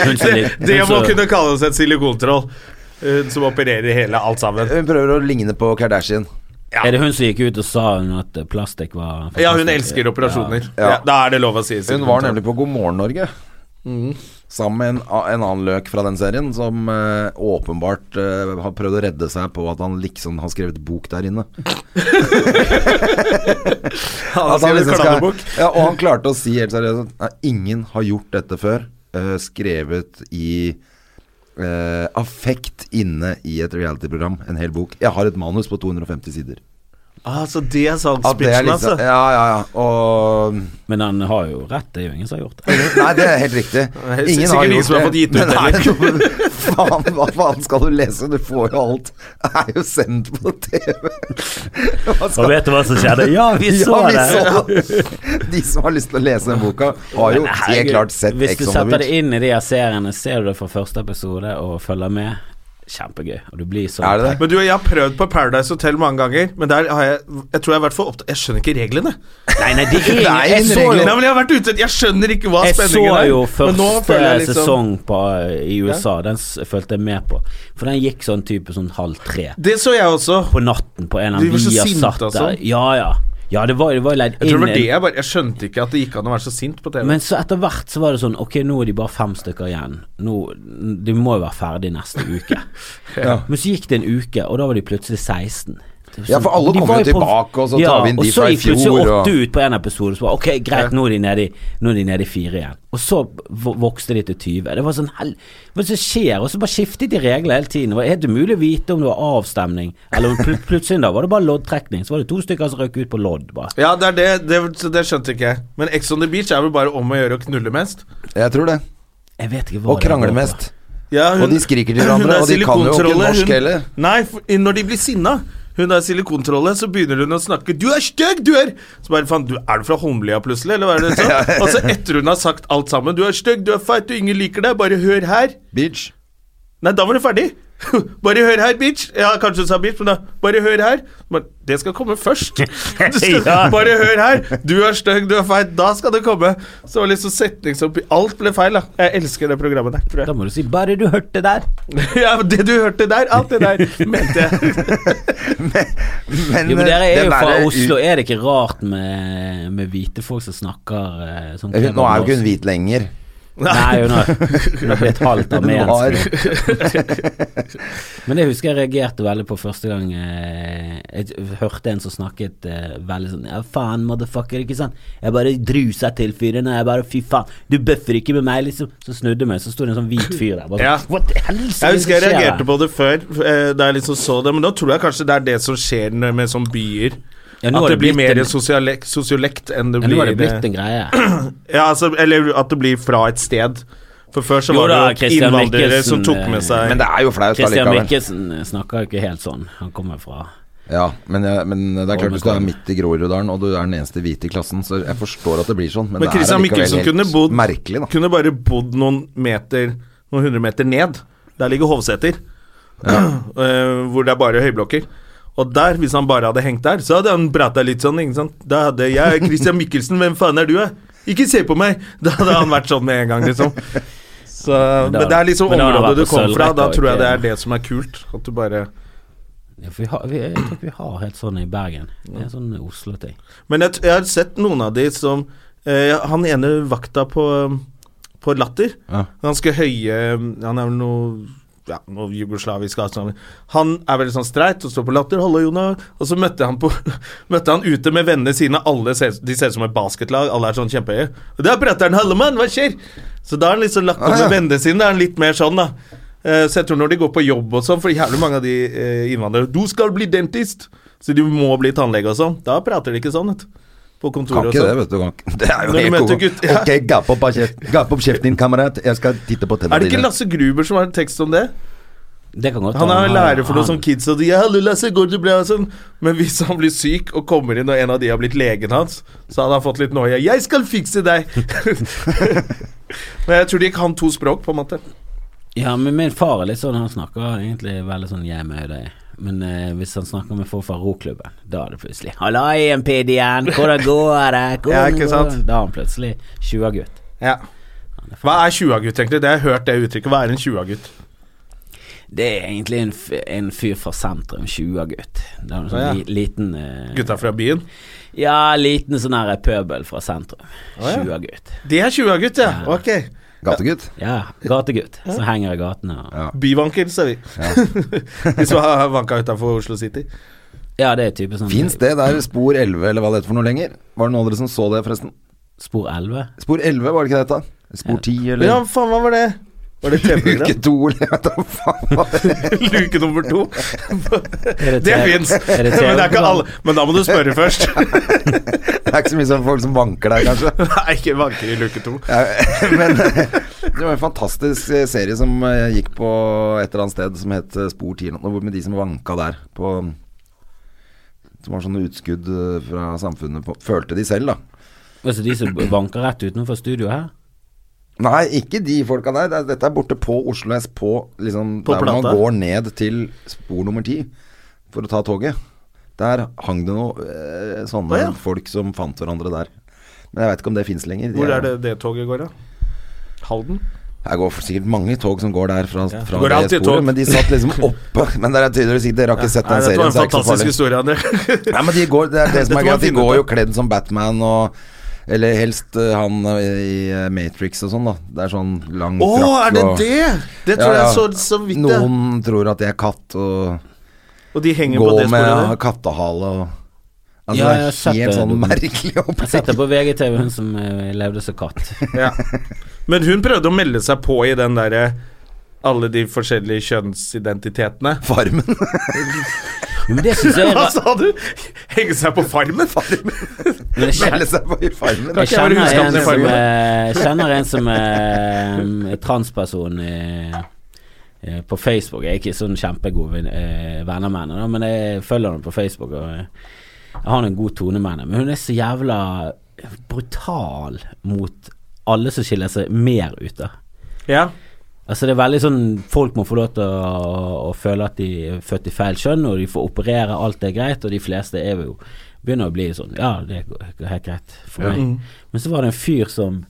S3: Hun som
S2: Det,
S3: lik- hun
S2: det må
S3: som-
S2: kunne kalles et silikontroll. Hun som opererer hele alt sammen.
S1: hun prøver å ligne på Kardashian.
S3: Er det hun som gikk ut og sa hun at eh, plastikk var
S2: Ja, hun elsker operasjoner.
S1: Ja.
S2: Ja, da er det lov å si.
S1: Hun var nemlig Mhm. på God morgen Norge. Sammen med en, a- en annen løk fra den serien som eh, åpenbart eh, har prøvd å redde seg på at han liksom har skrevet bok der inne.
S2: Han
S1: At han
S2: skrev en
S1: liksom skal-
S2: kladdebok.
S1: ja, og han klarte å si helt seriøst at "Nei, ingen har gjort dette før. eh, skrevet i eh, affekt inne i et realityprogram. En hel bok. Jeg har et manus på 250 sider.
S2: Altså, det er sånn
S1: At det er
S2: spitchen,
S1: liksom,
S2: altså.
S1: ja, ja, ja. Og
S3: Men han har jo rett, det er jo ingen som har gjort det.
S1: Nei, det er helt
S2: [LAUGHS]
S1: riktig.
S2: er sikkert ingen som har fått gitt ut
S1: Men er det noe- faen, hva faen skal du lese? Du får jo alt. Det er jo sendt på TV. Hva
S3: Og
S1: skal
S3: vet du hva som skjedde? Ja, vi så
S1: ja, vi
S3: det!
S1: så det. De som har lyst til å lese den boka, har jo
S3: Men
S1: helt
S3: herregud,
S1: klart sett
S3: Hvis
S1: Ex
S3: du
S1: on the
S3: setter det
S1: Beach.
S3: inn i de her seriene, ser du det fra første episode og følger med, kjempegøy. Og du blir sånn
S1: Er det det?
S2: Men du, jeg har prøvd på Paradise Hotel mange ganger, men der har jeg Jeg tror jeg har vært for opptatt Jeg skjønner ikke reglene.
S3: Nei, nei, de er
S1: [LAUGHS] Det er
S3: jeg
S1: ingen
S3: så
S1: regler.
S2: Nei,
S3: jo
S2: men Jeg har vært ute Jeg skjønner ikke hva
S3: jeg så
S2: spenningen er.
S3: jo
S2: Men
S3: første
S2: nå føler jeg liksom-
S3: sesong på, i USA, den s følte jeg med på. For den gikk sånn type sånn halv tre
S2: Det så jeg også.
S3: på natten på en av
S2: De var så
S3: vi har
S2: sinte
S3: satt
S2: og
S3: der.
S2: sånn.
S3: Ja, ja. Ja, det var, det var leid
S2: Jeg tror det var
S3: inn
S2: det
S3: en-
S2: jeg bare Jeg skjønte ikke at det gikk an å være så sint på TV.
S3: Men så etter hvert så var det sånn Ok, nå er de bare fem stykker igjen. Nå, de må jo være ferdig neste
S1: [LAUGHS]
S3: uke. Men så gikk det en uke, og da var de plutselig 16. Det var
S1: Ja, for alle
S3: de
S1: kom
S3: var
S1: jo tilbake, og så tar vi inn de fra i
S3: Og så
S1: fjor,
S3: gikk plutselig
S1: og-
S3: åtte ut på en episode, så bare ok, greit, nå er de nede i, nå er de nede i fire igjen. Og så vo- vokste de til 20. Det var sånn hel... Hva er det som skjer? Og så bare skiftet de regler hele tiden. Det var helt umulig å vite om det var avstemning, eller om pl plutselig da var det bare loddtrekning. Så var det to stykker som røk ut på lodd, bare.
S2: Ja, det er det, det, så det skjønte ikke jeg. Men Ex on the Beach er vel bare om å gjøre å knulle mest.
S1: Jeg tror det.
S3: Jeg vet ikke hva
S1: Og
S3: det går
S1: krangle
S3: på.
S1: mest.
S2: Ja,
S1: Og de skriker til
S2: [LAUGHS] hun
S1: hverandre,
S2: er
S1: og de kan jo ikke
S2: silikontrolle,
S1: norsk
S2: hun-
S1: heller.
S2: Nei, for, når de blir sinna hun er silikontrolle, så begynner hun å snakke 'Du er stygg, du er!' Så bare faen, du, er du fra Holmlia plutselig, eller hva er
S1: [LAUGHS]
S2: det sånn? Og så etter hun har sagt alt sammen 'Du er stygg, du er feit, du ingen liker deg, bare hør her'.
S1: Beach. [LAUGHS]
S2: Nei, da var du ferdig. [LAUGHS] Bare hør her, bitch. Ja, kanskje du sa bitch, men da Bare hør her. Men det skal komme [LAUGHS] først. Du skal,
S3: Ja.
S2: Bare hør her. Du er stygg, du er feil. Da skal det komme. Så det var liksom setning som Alt ble feil, da. Jeg elsker det programmet der,
S3: Da
S2: tror jeg.
S3: må du si 'bare du hørte der'.
S2: [LAUGHS] Ja, men det du hørte der, alt [LAUGHS] det der, mente jeg.
S1: Men,
S3: Jo, men dere
S1: eh,
S3: er
S1: den
S3: jo fra
S1: derre
S3: Oslo,
S1: ut-
S3: er det ikke rart med, med hvite folk som snakker eh, sånn
S1: Hun- Nå er jo ikke hun hvit lenger.
S3: Nei, hun
S1: [LAUGHS]
S3: har, hun har blitt halvt
S1: Hun har
S3: armensk. [LAUGHS] Men det husker jeg reagerte veldig på første gang eh, jeg hørte en som snakket eh, veldig sånn Ja, faen, motherfucker, ikke sant? Jeg bare drusa til fyren, og jeg bare Fy faen, du bøffer ikke med meg, liksom. Så snudde jeg meg, så sto det en sånn hvit fyr der. Bare,
S2: Ja.
S3: sånn, What the hell?
S2: Jeg husker jeg reagerte på det før, eh, da jeg liksom så det, men da tror jeg kanskje det er det som skjer når- med sånne byer.
S3: Ja, nå har
S2: at det
S3: det
S2: blir
S3: blitt
S2: mer
S3: en-
S2: sosialek- sosiolekt enn det
S3: ja,
S2: blir eh,
S3: Nå har det blitt en greie.
S2: Ja, altså, eller at det blir fra et sted. For før så
S3: Jo
S2: var
S3: da,
S2: det jo
S3: Christian
S2: innvandrere
S3: Mikkelsen, eh,
S2: som tok med seg
S1: Men det er jo flaut
S3: Christian
S1: allikevel.
S3: Mikkelsen eh, snakker jo ikke helt sånn. Han kommer fra
S1: Ja, men, jeg, men det er klart hvis du er
S3: Holmenkollen.
S1: midt i Groruddalen og du er den eneste hvite i klassen, så jeg forstår at det blir sånn, men,
S2: Men
S1: det er
S2: Christian
S1: allikevel
S2: Mikkelsen
S1: helt
S2: kunne bodd
S1: merkelig, da.
S2: Kunne bare bodd noen meter Noen hundre meter ned. Der ligger Hovseter. [CLEARS THROAT] Eh, hvor det er bare høyblokker. Og der, hvis han bare hadde hengt der, så hadde han prata litt sånn. ikke sant? Da hadde jeg Christian Mikkelsen, hvem faen er du, jeg? Ikke se på meg! Da hadde han vært sånn med en gang, liksom. Så, men,
S3: da-
S2: det er liksom
S3: men da har han
S2: området
S3: vært på
S2: du kom fra.
S3: sølvrekka,
S2: Da tror jeg det
S3: ikke-
S2: er det som er kult. At du bare
S3: Ja, for vi har, vi, jeg tror ikke vi har helt sånn i Bergen. Det er sånn Oslo-ting.
S2: Men jeg, t- jeg har sett noen av de som eh, Han ene vakta på, på Latter.
S1: Ja.
S2: Ganske høye Han er vel noe ja, noe jugoslavisk avstander. Han er veldig sånn streit og står på Latter. 'Hallo, Jona'. Og så møtte han, på, [LAUGHS] møtte han ute med vennene sine. Alle ser, de ser ut som et basketlag. Alle er sånn kjempehøye. Og der prater han 'Hallo, mann, hva skjer?' Så da er han litt sånn lagt opp med vennene sine. Da er han litt mer sånn, da. Eh, Så jeg tror når de går på jobb og sånn, for jævlig mange av de eh, innvandrere 'Du skal bli dentist', så de må bli tannlege og sånn. Da prater de ikke sånn, vet du. På
S1: Kan
S2: kontoret og
S1: ikke det,
S2: sånn.
S1: vet du. Kan ikke. [LAUGHS] Det er jo
S2: Når du
S1: helt
S2: møter
S1: koko.
S2: gutt- ja.
S1: Ok, gap opp, av kjeft- gap opp kjeften din, kamerat. Jeg skal titte på
S2: Er
S1: tennene
S2: det ikke Lasse Gruber som har en tekst om det?
S3: Det kan godt
S2: Han er
S3: være.
S2: jo lærer for noen
S3: han-
S2: sånne kids, og de ja, hallo, Lasse, går det bra? Og sånn. Men hvis han blir syk og kommer inn, og en av de har blitt legen hans, så hadde han fått litt noia. 'Jeg skal fikse deg!' [LAUGHS] Men jeg tror de kan to språk, på en måte.
S3: Ja, men min far er litt sånn, han snakker egentlig veldig sånn jeg med deg. Men eh, hvis han snakker med folk fra roklubben, da er det plutselig E 'Hallai, Impedian,
S2: [LAUGHS]
S3: hvordan går det?' Hvordan
S2: Ja, ikke
S3: går
S2: sant?
S3: det?» Da er han plutselig 20-gutt.
S2: Ja. Hva er 20-gutt, egentlig? Det har jeg hørt det uttrykket. Hva er en 20-gutt?
S3: Det er egentlig en, f- en fyr fra sentrum, 20-gutt. Det er en sånn
S2: Å, ja.
S3: li, liten eh,
S2: Gutta fra byen?
S3: Ja, liten sånn her pøbel fra sentrum.
S2: Å, ja.
S3: 20-gutt.
S2: Det er 20-gutt, ja. Ok.
S1: Gategutt.
S3: Ja, gategutt som henger i gatene. og-
S1: Ja.
S2: Byvanker, sa vi. [LAUGHS] De som har vanka utafor Oslo City.
S3: Ja, det er type sånn
S1: Fins det der Spor 11, eller hva det heter for noe lenger? Var det noen av dere som så det, forresten?
S3: Spor 11.
S1: Spor 11, var det ikke det det het? Spor 10, eller?
S2: Ja, faen, hva var det? Var det et
S1: Uke
S2: TV-program?
S1: to, eller [LAUGHS] jeg vet da faen hva det er.
S2: [LAUGHS] Luke nummer to.
S3: det
S2: Det
S3: te-
S2: fins,
S3: er det
S2: [LAUGHS] men det er ikke
S3: TV-program?
S2: alle. Men da må du spørre først. [LAUGHS]
S1: Det er ikke så mye som folk som vanker der, kanskje.
S2: Nei, ikke vanker i luke to.
S1: [LAUGHS] Men eh, det var en fantastisk eh, serie som eh, gikk på et eller annet sted som het eh, Spor 10, eller noe, med de som vanka der på Som var sånne utskudd eh, fra samfunnet, på, følte de selv, da.
S3: Altså de som banker rett utenfor studioet her.
S1: Nei, ikke de folka der. Det er- Dette er borte på Oslo S, på, liksom,
S2: På
S1: der hvor man
S2: Plata.
S1: går ned til spor nummer ti for å ta toget. Der hang det noen eh, sånne
S2: Å, ja.
S1: folk som fant hverandre der. Men jeg veit ikke om det fins lenger. De
S2: Hvor er det det toget går, da? Halden?
S1: Det går sikkert mange tog som går der fra, fra
S2: Går
S1: det
S2: alltid
S1: sporet,
S2: tog.
S1: men de satt
S2: [LAUGHS]
S1: liksom oppe. Men dere er tydeligvis ikke Dere har ikke sett
S2: Nei,
S1: den
S2: dette
S1: serien,
S2: var en
S1: så det er ikke så
S2: fantastisk
S1: farlig.
S2: historie, André.
S1: Nei, men de går, det er det som er
S2: Dette må
S1: greit. De
S2: jeg finne
S1: går
S2: ut
S1: jo kledd som Batman og Eller helst eh, han eh, i eh, Matrix og sånn, da. Det er sånn lang
S2: [LAUGHS] Å,
S1: frakk
S2: er det
S1: og
S2: det? Det tror jeg så så vidt, det.
S1: Noen tror at jeg er katt og
S2: Og de henger på
S1: går
S2: det
S1: med
S2: sporet der.
S1: kattehale og Altså,
S3: Ja, jeg har
S1: det
S3: sett
S1: er helt
S3: det,
S1: sånn
S3: du-
S1: merkelig [LAUGHS]
S3: Jeg satt
S1: opplegg.
S3: det på VGTV, hun som eh, levde som katt.
S2: Ja. Men hun prøvde å melde seg på i den derre alle de forskjellige kjønnsidentitetene.
S1: Farmen.
S3: Men [LAUGHS] det synes jeg er
S1: [LAUGHS]
S2: Hva
S1: Altså,
S3: ra-
S2: sa du? Henge seg på farmen?
S3: men jeg
S1: Melde
S3: kjenner,
S1: seg på i Farmen.
S3: jeg
S2: ikke jeg være
S3: kjenner,
S2: huskatten
S3: en
S2: i
S3: som,
S2: farmen?
S3: eh, kjenner en som er eh, transperson eh, eh, på Facebook. Jeg er ikke sånn kjempegod vin- eh, venner med henne, da, men jeg følger henne på Facebook. Og eh, jeg har en god tone med henne, men hun er så jævla brutal mot alle som skiller seg mer ut. da
S2: Ja.
S3: Altså det er veldig sånn Folk må få lov til å, å føle at de er født i feil kjønn, og de får operere, alt er greit, og de fleste er jo begynner å bli sånn Ja, det er helt greit for meg.
S2: Mm.
S3: Men så var det en fyr som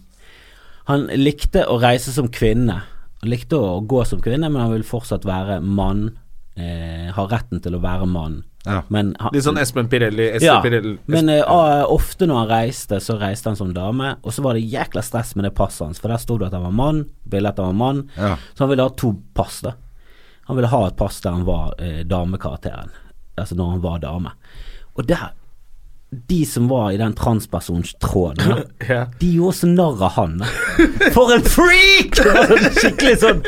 S3: Han likte å reise som kvinne. Han likte å gå som kvinne, men han vil fortsatt være mann. Eh, ha retten til å være mann.
S1: Ja.
S3: Men han,
S2: Litt sånn Espen Pirelli, Ester
S3: ja,
S2: Pirelli
S3: men eh, ah, ofte når han reiste, så reiste han som dame, og så var det jækla stress med det passet hans, for der sto det at han var mann, bilde at han var mann,
S1: Ja.
S3: så han ville ha to pass, da. Han ville ha et pass der han var eh, damekarakteren, altså når han var dame. Og der de som var i den transpersonstråden, da,
S2: Ja.
S3: de gjorde så narr av han. da. For en freak! [LAUGHS] Det var sånn Skikkelig sånn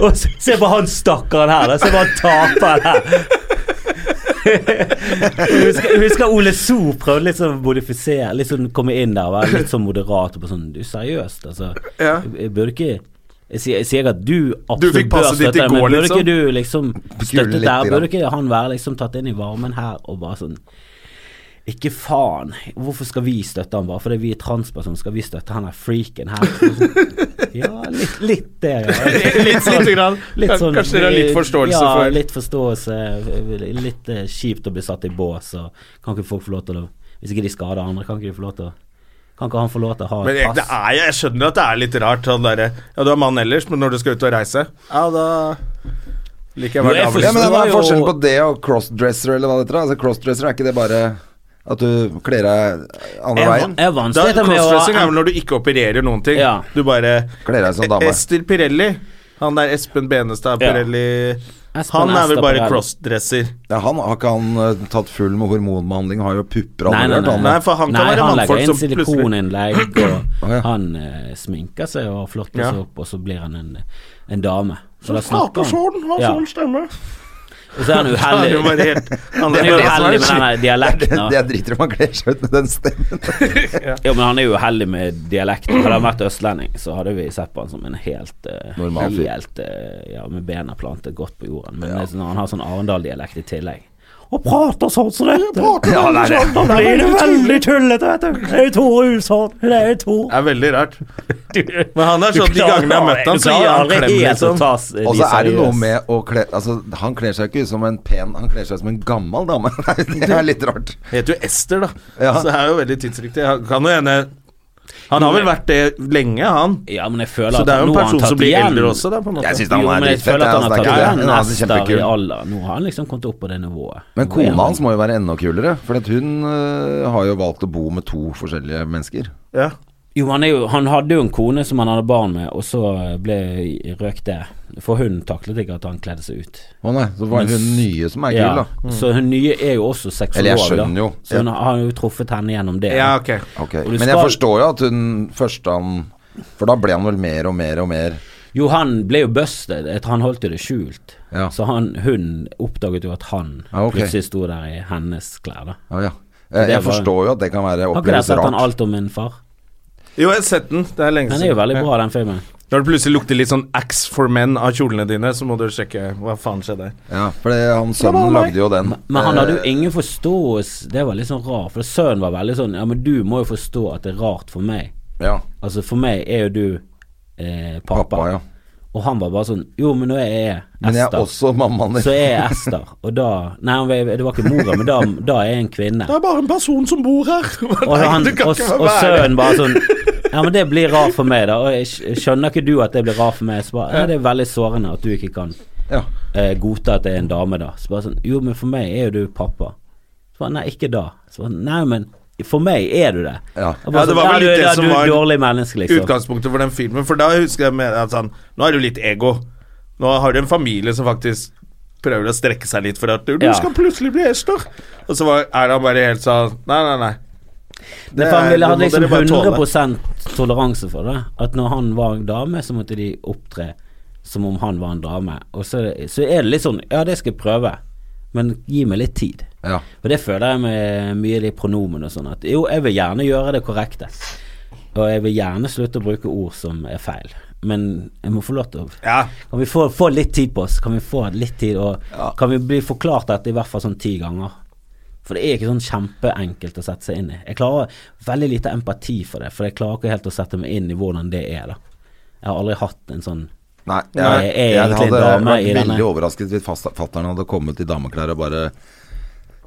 S3: og s- Se på han stakkaren her, da. Se på han taperen her. Jeg husker, jeg husker Ole So prøvde litt sånn å modifisere, litt sånn komme inn der og være litt sånn moderat. Og på sånn, du seriøst, altså.
S2: Ja.
S3: Jeg, jeg burde ikke jeg sier, jeg sier ikke at du
S2: Du fikk
S3: absolutt bør
S2: passet ditt i
S3: støtte, det, men
S2: går,
S3: burde
S2: liksom.
S3: ikke du liksom
S1: Kule
S3: støttet
S1: litt
S3: der?
S1: i
S3: Burde
S1: det.
S3: ikke han være liksom tatt inn i varmen her og bare sånn ikke faen. Hvorfor skal vi støtte han bare fordi vi er transpersoner? Skal vi støtte han her freaken her?
S2: [LAUGHS]
S3: Ja, litt, litt det, ja.
S2: Litt, litt grann. Kanskje dere har litt forståelse
S3: ja,
S2: for-
S3: litt forståelse. Litt eh, kjipt å bli satt i bås, og kan ikke folk få lov til å Hvis ikke de skader andre, kan ikke de få lov til å Kan ikke han få lov til å ha
S2: Men
S3: et
S2: jeg, det
S3: pass?
S2: er, sånn jeg skjønner at det er litt rart. Han derre Ja, du er mann ellers, men når du skal ut og reise Ja, da Liker jeg å være
S3: Jo, jeg
S2: dame.
S1: Ja, men Hva
S3: Det var
S1: er
S3: jo-
S1: forskjellen på det og crossdresser? Eller hva det heter, da? altså, crossdresser er ikke det bare at du kler deg andre
S3: Jeg,
S1: veien?
S3: jeg har
S2: Da,
S3: vanskeligheter med å
S2: crossdressing er vel når du ikke opererer noen ting.
S3: Ja.
S2: Du bare
S1: Kler deg som dame.
S2: Ester Pirelli. Han der Espen Benestad
S3: Ja.
S2: Pirelli
S3: Espen
S2: Han er vel
S3: Ester
S2: bare
S3: Pirelli.
S2: crossdresser.
S1: Ja, han har ikke han eh, tatt full med hormonbehandling, har jo pupper og
S3: Nei, nei,
S1: alt
S3: nei,
S1: rart,
S2: Nei,
S1: han.
S2: for han
S3: Nei,
S2: kan være
S3: han legger
S2: mannfolk
S3: inn
S2: som plutselig
S3: silikoninnlegg, og
S2: [CLEARS THROAT]
S1: Å, ja.
S3: han eh, sminker seg og flotter
S2: Ja.
S3: seg opp, og så blir han en, en dame. Så da
S2: Snakker sånn, har
S3: Ja.
S2: sånn stemme.
S3: Og
S2: [LAUGHS]
S3: så er han
S2: Han er jo
S3: uheldig.
S2: bare helt han
S3: [LAUGHS] Det
S2: er
S3: er jo
S2: bare-
S3: uheldig med den der dialekten. da.
S1: Det jeg driter i om han kler seg ut med den stemmen.
S3: Jo, men han er jo uheldig med dialekten. Hadde han vært østlending, så hadde vi sett på han som en helt eh,
S1: Normal fyr.
S3: Helt, eh, ja, med bena plantet godt på jorden. Men det er sånn- han har sånn Arendal-dialekt i tillegg. Og prater sånn som dette! Ja, nei, det. Da blir det veldig tullete, vet du. Det er jo Tore Hushovd. Det er jo Tore.
S2: Det er veldig rart.
S3: [LAUGHS]
S2: Men han er sånn de gangene jeg har møtt ham, så gir han klem, liksom.
S3: sånn.
S1: Og så er det noe med å kle Altså, han kler seg ikke ut som en pen Han kler seg som en gammel dame. [LAUGHS] Nei, det er litt rart.
S2: Heter jo Ester, da.
S1: Ja.
S2: Så det er jo veldig tidsriktig. Han Kan jo hende Han har vel vært det lenge, han.
S3: Ja, men jeg føler
S2: Så
S3: at
S2: det er jo en
S3: altså, nå har han
S2: person
S3: tatt
S2: som blir
S3: igjen.
S2: eldre også, da, på en måte.
S1: Jeg synes
S3: Jo,
S1: han
S3: men
S1: er
S3: jeg
S1: litt fett.
S3: føler at han har
S1: snakker
S3: tatt
S1: ikke
S3: igjen
S1: det. Han er
S3: Nester i
S1: kjempekul.
S3: alder. Nå har han liksom kommet opp på det nivået.
S1: Men
S3: Nå er
S1: kona
S3: han-
S1: hans må jo være enda kulere, for at hun øh, har jo valgt å bo med to forskjellige mennesker.
S2: Ja.
S3: Jo, han, er jo, han hadde jo en kone som han hadde barn med, og så eh, ble røk det. For hun taklet ikke at han kledde seg ut.
S1: Å nei, så var det hun nye som er
S3: Ja,
S1: kul, da. Mm.
S3: Så hun nye er jo også seksolog,
S1: Eller jeg skjønner
S3: da.
S1: jo.
S3: Så hun har jo truffet henne gjennom det.
S2: ja, ok.
S1: Ok,
S3: Og du
S1: Men jeg
S3: skal-
S1: forstår jo at hun første han For da ble han vel mer og mer og mer
S3: Jo, han ble jo busted. et- Han holdt jo det skjult.
S1: Ja.
S3: Så han, hun oppdaget jo at han
S1: Ja, ok.
S3: plutselig sto der i hennes klær, da.
S1: Å ja. Jeg, Eh, jeg
S3: var-
S1: forstår jo at det kan være
S3: Har ikke dere
S1: oppleves
S3: sett han
S1: rart.
S3: alt om min far?
S2: Jo, jeg har sett den. Det er lenge
S3: Den er jo veldig bra, den filmen.
S2: Når det plutselig lukter litt sånn Axe for men av kjolene dine, så må du sjekke hva faen skjedde.
S1: Ja, for det, han sønnen lagde jo den.
S3: Men han
S1: Eh,
S3: hadde jo ingen forståelse Det var litt sånn rart, for sønnen var veldig sånn Ja, men du må jo forstå at det er rart for meg.
S1: ja,
S3: Altså for meg er jo du eh, pappa,
S1: pappa, ja.
S3: og han var bare sånn Jo, men nå er jeg Ester.
S1: Men jeg er også mammaen
S3: Så
S1: din.
S3: er jeg Ester, og da Nei, han var- det var ikke mora, men da, da er jeg en kvinne.
S2: er bare en person som bor her.
S3: Og,
S2: [LAUGHS]
S3: han, og, og sønnen bare sånn Ja, men det blir rart for meg, da. Og jeg skj- skjønner ikke du at det blir rart for meg? Så bare, ja, det er veldig sårende at du ikke kan
S1: Ja.
S3: eh, godta at det er en dame, da. Så bare sånn Jo, men for meg er jo du pappa. Så bare, Nei, ikke da. Så bare, Nei, men for meg er du det.
S1: Ja.
S3: Og bare
S2: Ja, det var
S3: sånn,
S2: vel
S3: du
S2: litt
S3: er-
S2: det som
S3: du er
S2: var
S3: et dårlig menneske, liksom.
S2: Utgangspunktet for den filmen, for da husker jeg med at sånn Nå er du litt ego. Nå har du en familie som faktisk prøver å strekke seg litt for at du
S3: Ja.
S2: skal plutselig bli Ester. Og så var, er han bare helt sånn Nei, nei, nei.
S3: Det
S2: Det
S3: for han
S2: er-
S3: ville
S2: det
S3: hatt
S2: må
S3: liksom
S2: dere bare
S3: 100
S2: tåle.
S3: toleranse for det. At når han var en dame, så måtte de opptre som om han var en dame. Og så, så er det litt sånn Ja, det skal jeg prøve, men gi meg litt tid.
S1: Ja.
S3: Og det føler jeg med mye av de pronomene og sånn at jo, jeg vil gjerne gjøre det korrekte. Og jeg vil gjerne slutte å bruke ord som er feil. Men jeg må få lov til å
S2: Ja.
S3: Kan vi få, få litt tid på oss? Kan vi få litt tid, og kan vi bli forklart dette i hvert fall sånn ti ganger? For det er ikke sånn kjempeenkelt å sette seg inn i. Jeg klarer veldig lite empati for det, for jeg klarer ikke helt å sette meg inn i hvordan det er, da. Jeg har aldri hatt en sånn
S1: Nei, jeg,
S3: Nei, jeg er egentlig
S1: hadde
S3: dame
S1: vært
S3: i denne.
S1: veldig overrasket hvis fatter'n hadde kommet i dameklær og bare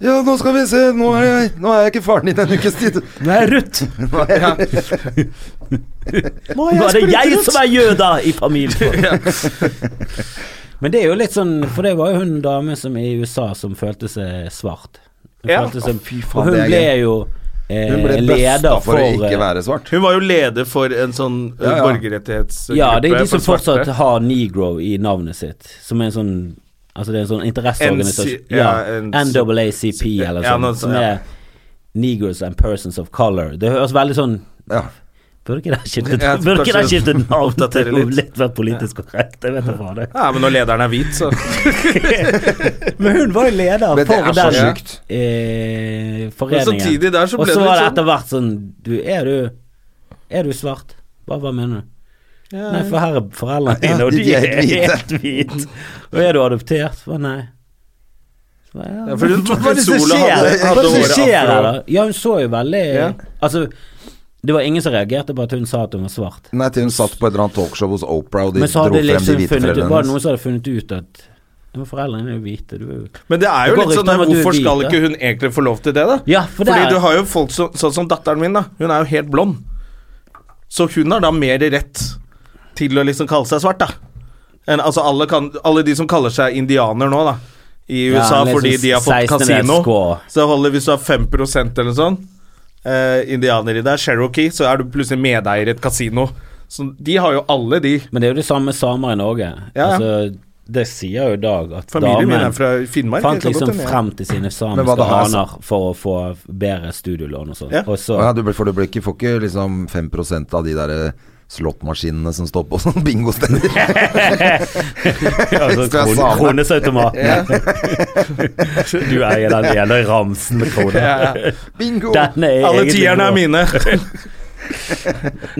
S1: Ja, nå skal vi se, nå er jeg, nå er jeg ikke faren din en ukes
S3: [LAUGHS]
S1: tid.
S3: Nå er jeg Ruth!
S1: Nå er jeg,
S2: Nå
S3: Nå er det jeg som er jøda i
S1: [LAUGHS]
S3: familien! Men det er jo litt sånn For det var jo hun dame som i USA som følte seg svart. Hun
S2: Ja.
S3: følte seg,
S1: faen,
S3: og hun
S1: det er
S3: ble
S1: gøy.
S3: jo eh,
S1: Hun ble busta
S3: leder
S1: for å
S3: eh,
S1: ikke være svart.
S2: Hun var jo leder for en sånn eh,
S1: Ja, ja.
S2: borgerrettighetsgruppe.
S3: Ja, det er de
S2: for
S3: som fortsatt
S2: svarte.
S3: har negro i navnet sitt, som er en sånn Altså det er en sånn interesseorganisasjon.
S2: NC
S3: Ja,
S2: ja, en-
S3: NAACP eller
S2: Ja,
S3: sånn,
S2: noe sånt,
S3: som
S2: ja.
S3: er Negroes and Persons of Color. Det høres veldig sånn
S1: Ja.
S3: Burde ikke det skiftet
S2: Ja,
S3: Burde ikke det
S2: kanskje [LAUGHS]
S3: skiftet navn
S2: oppdatere
S3: til noe
S2: litt.
S3: litt mer politisk korrekt? Jeg vet da faen. jeg.
S2: Ja, men når lederen er hvit, så
S3: [LAUGHS] Men hun var jo leder
S1: Men det
S3: for
S1: er så
S3: den
S1: sjukt.
S3: eh,
S2: Men
S3: foreningen.
S2: samtidig der så
S3: Og
S2: ble
S3: så
S2: det
S3: var det
S2: litt sånn
S3: etter hvert sånn du, er, du, er du svart? Hva, hva mener du? Nei, for her er foreldrene
S1: Ja,
S3: dine, og
S1: de-
S3: de
S1: de er
S3: er
S1: helt hvite.
S3: helt hvite. Og er du adoptert? Hva, nei. Så, ba, ja,
S2: Ja, for hun tok en solo
S3: skjer?
S2: hadde,
S3: Hva er
S2: hadde
S3: det som
S2: håret
S3: skjer her, da?
S2: afro.
S3: Ja, hun så jo veldig
S2: Ja.
S3: Altså, det var ingen som reagerte på at hun sa at hun var svart.
S1: Nei, til hun satt på et eller annet talkshow hos Oprah, og de
S3: Men så
S1: dro
S3: hadde
S1: frem de
S3: liksom
S1: hvite
S3: funnet ut
S1: foreldrene
S3: Var det
S1: hennes.
S3: noen som hadde funnet ut at ja, men Foreldrene er jo hvite, du er jo
S2: Men det er
S3: Det
S2: jo
S3: går
S2: litt
S3: rykter
S2: sånn der,
S3: om at du er
S2: hvorfor
S3: hvit,
S2: skal
S3: da.
S2: ikke hun egentlig få lov til det, da?
S3: Ja, for det
S2: Fordi
S3: er-
S2: du har jo folk som Sånn som datteren min, da. Hun er jo helt blond. Så hun har da mer rett til å liksom kalle seg svart, da. En, altså alle, kan, alle de som kaller seg indianer nå, da, i
S3: Ja,
S2: USA
S3: liksom
S2: fordi de har
S3: 16.
S2: fått kasino,
S3: SK.
S2: så holder hvis du har 5 eller noe sånt eh, indianer i deg, Cherokee, så er du plutselig medeier i et kasino. Så de har jo alle
S3: [LAUGHS]
S2: de.
S3: Men det er jo det samme med samer i Norge.
S2: ja.
S3: Altså, det sier jo i dag at
S2: Familien min er
S3: damen
S2: fra Finnmark.
S3: fant
S2: jeg kan godt
S3: liksom
S2: hende, ja.
S3: frem til sine
S1: Men hva
S3: samiske
S1: det har-
S3: aner for å få bedre studielån og sånn.
S2: Altså- Ja.
S3: Og så [LAUGHS]
S1: Å ja, du, blir- for du blir ikke, får ikke liksom 5 av de der eh, slåttmaskinene som står på sånne [LAUGHS] bingosteder.
S3: altså,
S1: Hvis du er
S3: kron-
S1: same.
S3: kronesautomaten. [LAUGHS] du eier den ene ramsen med kroner.
S1: Bingo!
S3: Den er
S2: Alle
S3: egentlig vår.
S2: tierne er
S3: [LAUGHS]
S2: mine.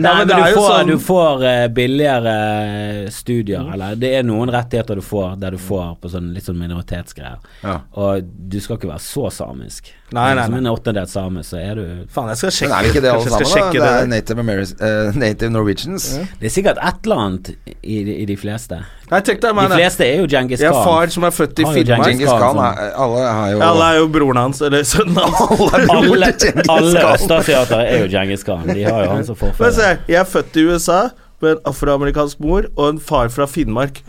S3: Nei,
S2: men
S3: men,
S2: det er
S3: du,
S2: jo
S3: får,
S2: sånn-
S3: du får eh, billigere eh, studier, eller det er noen rettigheter du får der du får på sånn litt sånn minoritetsgreier.
S1: Ja.
S3: Og du skal ikke være så samisk.
S2: Nei, nei,
S3: Som
S2: nei.
S3: en åttendedel same, så er du
S2: Faen, jeg
S1: Men
S2: skal sjekke
S1: er det ikke det alle
S2: Kanskje jeg skal
S1: sammen?
S2: sjekke
S1: da? Det er
S2: det.
S1: Native, Ameris, eh, Native Norwegians.
S3: Det er sikkert et eller annet i, i de fleste.
S2: Nei, tenk deg
S3: De
S2: meg, da.
S3: fleste er jo Djengis
S2: Jeg
S3: Khan.
S2: har eh, far som er [LAUGHS] født i
S3: Har jo
S2: Finnmark.
S1: Genghis Khan er, alle er jo
S2: Alle er jo broren hans, eller sønnen
S1: [LAUGHS]
S2: hans.
S3: Alle,
S1: Djengis
S3: alle
S1: Khan.
S3: østasiatere er jo Djengis Khan. De har jo han som
S2: Men se,
S3: forfører.
S2: jeg er født i USA med en afroamerikansk mor og en far fra Finnmark.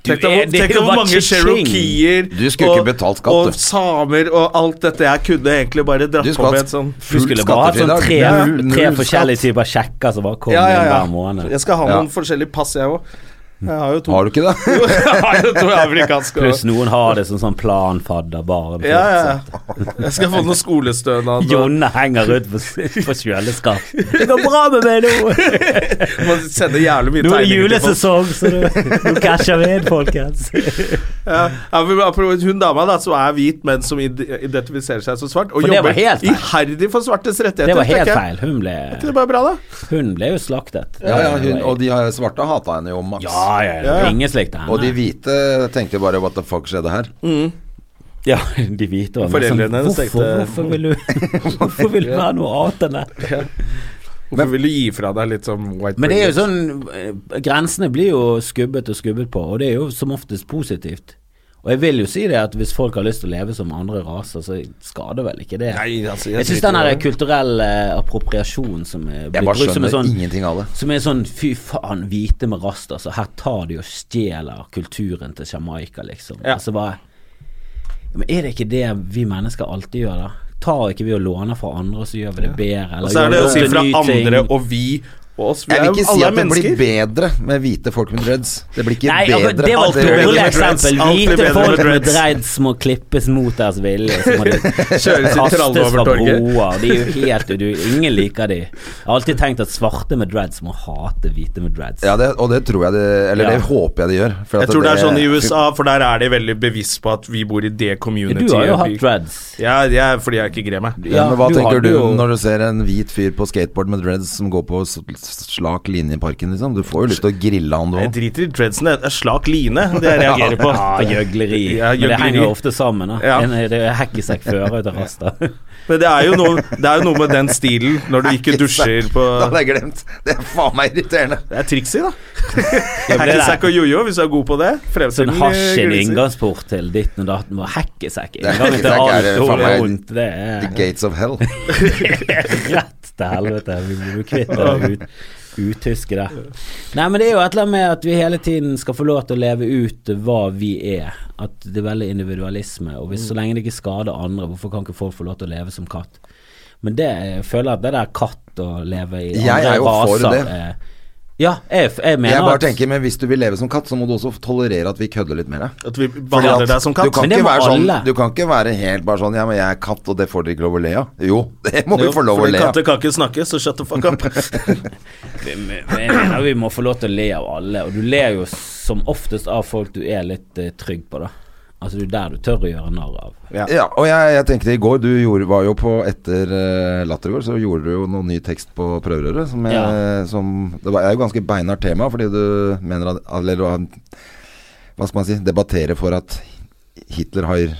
S2: Tenk deg
S3: er-
S2: hvor-
S3: det er
S2: tenk
S3: jo
S2: deg hvor
S3: bare
S2: mange
S3: cha-ching.
S2: cherokeer
S1: Du skulle ikke betalt skatt,
S2: og
S1: du.
S2: samer og alt dette. Jeg kunne egentlig bare
S1: Du
S2: dratt
S1: skulle
S2: på med
S1: hatt
S2: et sånn
S3: Du
S1: full
S3: skulle bare hatt sånn
S1: skattefridag.
S3: tre,
S1: Null- null
S3: tre
S1: skatt.
S3: forskjellige typer sjekker som bare kom
S2: Ja, ja,
S3: inn
S2: ja.
S3: hver måned.
S2: Jeg skal ha
S1: Ja.
S2: noen forskjellige pass, jeg òg. Jeg har jo to.
S1: Har du ikke det?
S2: [LAUGHS] jeg har jo to amerikanske også.
S3: Pluss noen har det som sånn planfadder, bare.
S2: Ja, ja. ja. Jeg skal få noe skolestønad. og-
S3: Jonne henger rundt på, på kjøleskapet. Altså, Det går bra med meg nå!
S2: Man sender jævlig mye
S3: Nå er det
S2: tegninger til
S3: julesesong,
S2: folk.
S3: så nå, nå casher vi inn, folkens.
S2: Ja, ja, men apropos hun dama da, som er hvit, men som id- identifiserer seg som svart, og
S3: For det var
S2: jobber
S3: helt feil.
S2: iherdig for svartes rettigheter.
S3: Det var helt
S2: tenker jeg.
S3: feil. Hun ble,
S2: Er ikke det bare bra, da?
S3: hun ble jo slaktet.
S1: Ja, ja, hun, og de eh, svarte hata henne jo maks.
S3: ja, ja, ja. Ingen slikte
S1: Og de
S3: henne.
S1: hvite tenkte jo bare What the fuck skjedde her?
S3: ja, [LAUGHS] de hvite var
S2: Foreldrene
S3: sånn,
S2: hennes
S3: hvorfor,
S2: tenkte-
S3: hvorfor vil du [LAUGHS] Hvorfor vil du ha noe annet enn dette?
S2: Hvorfor vil du gi fra deg litt sånn white
S3: Men det er jo
S2: privilege?
S3: sånn eh, Grensene blir jo skubbet og skubbet på, og det er jo som oftest positivt. Og jeg vil jo si det at hvis folk har lyst til å leve som andre raser, så skader vel ikke det.
S2: Nei, altså,
S3: jeg syns
S2: driter
S3: den
S2: i
S3: her
S2: det.
S3: kulturelle eh, appropriasjonen som er
S1: Jeg
S3: blitt
S1: bare
S3: brukt som
S1: skjønner
S3: en sånn
S1: ingenting av det.
S3: som er sånn fy faen, hvite med rast, altså. Her tar de og stjeler kulturen til Jamaica, liksom.
S2: Ja.
S3: Altså bare Men er det ikke det vi mennesker alltid gjør, da? Tar ikke vi og låner fra andre, så gjør vi det bedre? Eller
S2: Og så er det
S3: gjør vi
S2: å si
S3: en
S2: fra
S3: ny ting?
S2: andre og vi og oss. Vi
S1: Jeg
S2: er
S1: vil
S2: jo
S1: ikke si
S2: alle
S1: at det blir
S2: mennesker.
S1: bedre med hvite folk med dreads. Det blir ikke
S3: Nei,
S1: bedre.
S3: akkurat det var
S1: Det
S3: et
S1: gjør det
S3: dårlig
S1: ikke.
S3: eksempel.
S2: Alt blir
S3: Hvite
S2: bedre med
S3: folk med
S2: dreads.
S3: dreads må klippes mot deres vilje. Så
S1: [LAUGHS]
S3: må de
S2: i tralle
S3: kastes
S2: over
S3: fra
S2: torget.
S3: broer. De er jo helt du, Ingen liker de. Jeg har alltid tenkt at svarte med dreads må hate hvite med dreads.
S1: Ja, det, og det tror jeg det Eller
S3: Ja.
S1: det håper jeg det gjør. for at
S2: Jeg tror det er sånn i USA, for der er de veldig bevisst på at vi bor i det community.
S3: Du har jo
S2: og vi-
S3: hatt dreads.
S2: Ja, det er fordi jeg ikke greier meg.
S1: Ja, men Hva
S3: du
S1: tenker
S3: hadde
S1: du
S3: jo-
S1: når du ser en hvit fyr på skateboard med dreads som går på s- slak linje i parken, liksom? Du får jo lyst til å grille han, du
S2: Jeg
S1: òg.
S2: driter i dreadsen. Det er slak line det jeg reagerer på.
S3: [LAUGHS] Ja, gjøgleri.
S2: Ja,
S3: Men det
S2: gjøgleri.
S3: henger jo ofte sammen. Da.
S2: Ja.
S3: En, eh, det er hekkesekk fører ut av rasta. [LAUGHS]
S2: Men det er, jo noe, det er jo noe med den stilen når du ikke dusjer på
S1: Det hadde jeg glemt. Det er faen meg irriterende.
S2: Det er trikset, [LAUGHS] da.
S3: men det
S2: Hekkesekk
S3: er-
S2: og jojo, hvis du er god på det. eh,
S3: Sånn
S2: Fremstiller
S3: hasj er en
S2: gliser.
S3: inngangsport til ditt og datt. Må Hekkesekk
S1: er
S3: inngangen til
S1: hekkesekk, er
S3: alt
S1: det
S3: dårlig
S1: faen meg-
S3: og vondt. Det
S1: The
S3: er
S1: gates of
S3: [LAUGHS]
S1: hell.
S3: rett til helvete. Vi blir kvitt det ut, utyske der. Nei, men det er jo et eller annet med at vi hele tiden skal få lov til å leve ut hva vi er. At det er veldig individualisme. Og hvis, så lenge det ikke skader andre, hvorfor kan ikke folk få lov til å leve som katt? Men det, jeg føler at det der katt å leve i
S1: Jeg er jo for det.
S3: er- ja, jeg, jeg mener
S1: Jeg bare
S3: at-
S1: tenker, men hvis du vil leve som katt, så må du også tolerere at vi kødder litt med deg.
S2: At vi
S1: Fordi
S2: behandler
S1: at
S2: deg som
S1: Du
S2: katt.
S1: kan,
S3: Men det
S1: ikke
S3: må
S1: være sånn,
S3: alle.
S1: du kan ikke være helt bare sånn Ja, men jeg er katt, og det får dere ikke lov å le av. Jo, [LAUGHS] det må vi
S2: Jo,
S1: få lov å
S2: fordi
S1: le av.
S2: Katter kan ikke snakke, så shut the fuck [LAUGHS] up.
S3: Vi- vi- Jeg mener vi må få lov til å le av alle, og du ler jo som oftest av folk du er litt eh, trygg på, da. Altså du er der du tør å gjøre narr av.
S1: Ja, og jeg, jeg tenkte i går Du gjorde, var jo på etter uh, Lattergård, så gjorde du jo noe ny tekst på prøverøret. Som, jeg,
S3: Ja.
S1: som Det var, er jo ganske beinhardt tema, fordi du mener at Eller hva- hva skal man si Debatterer for at Hitler har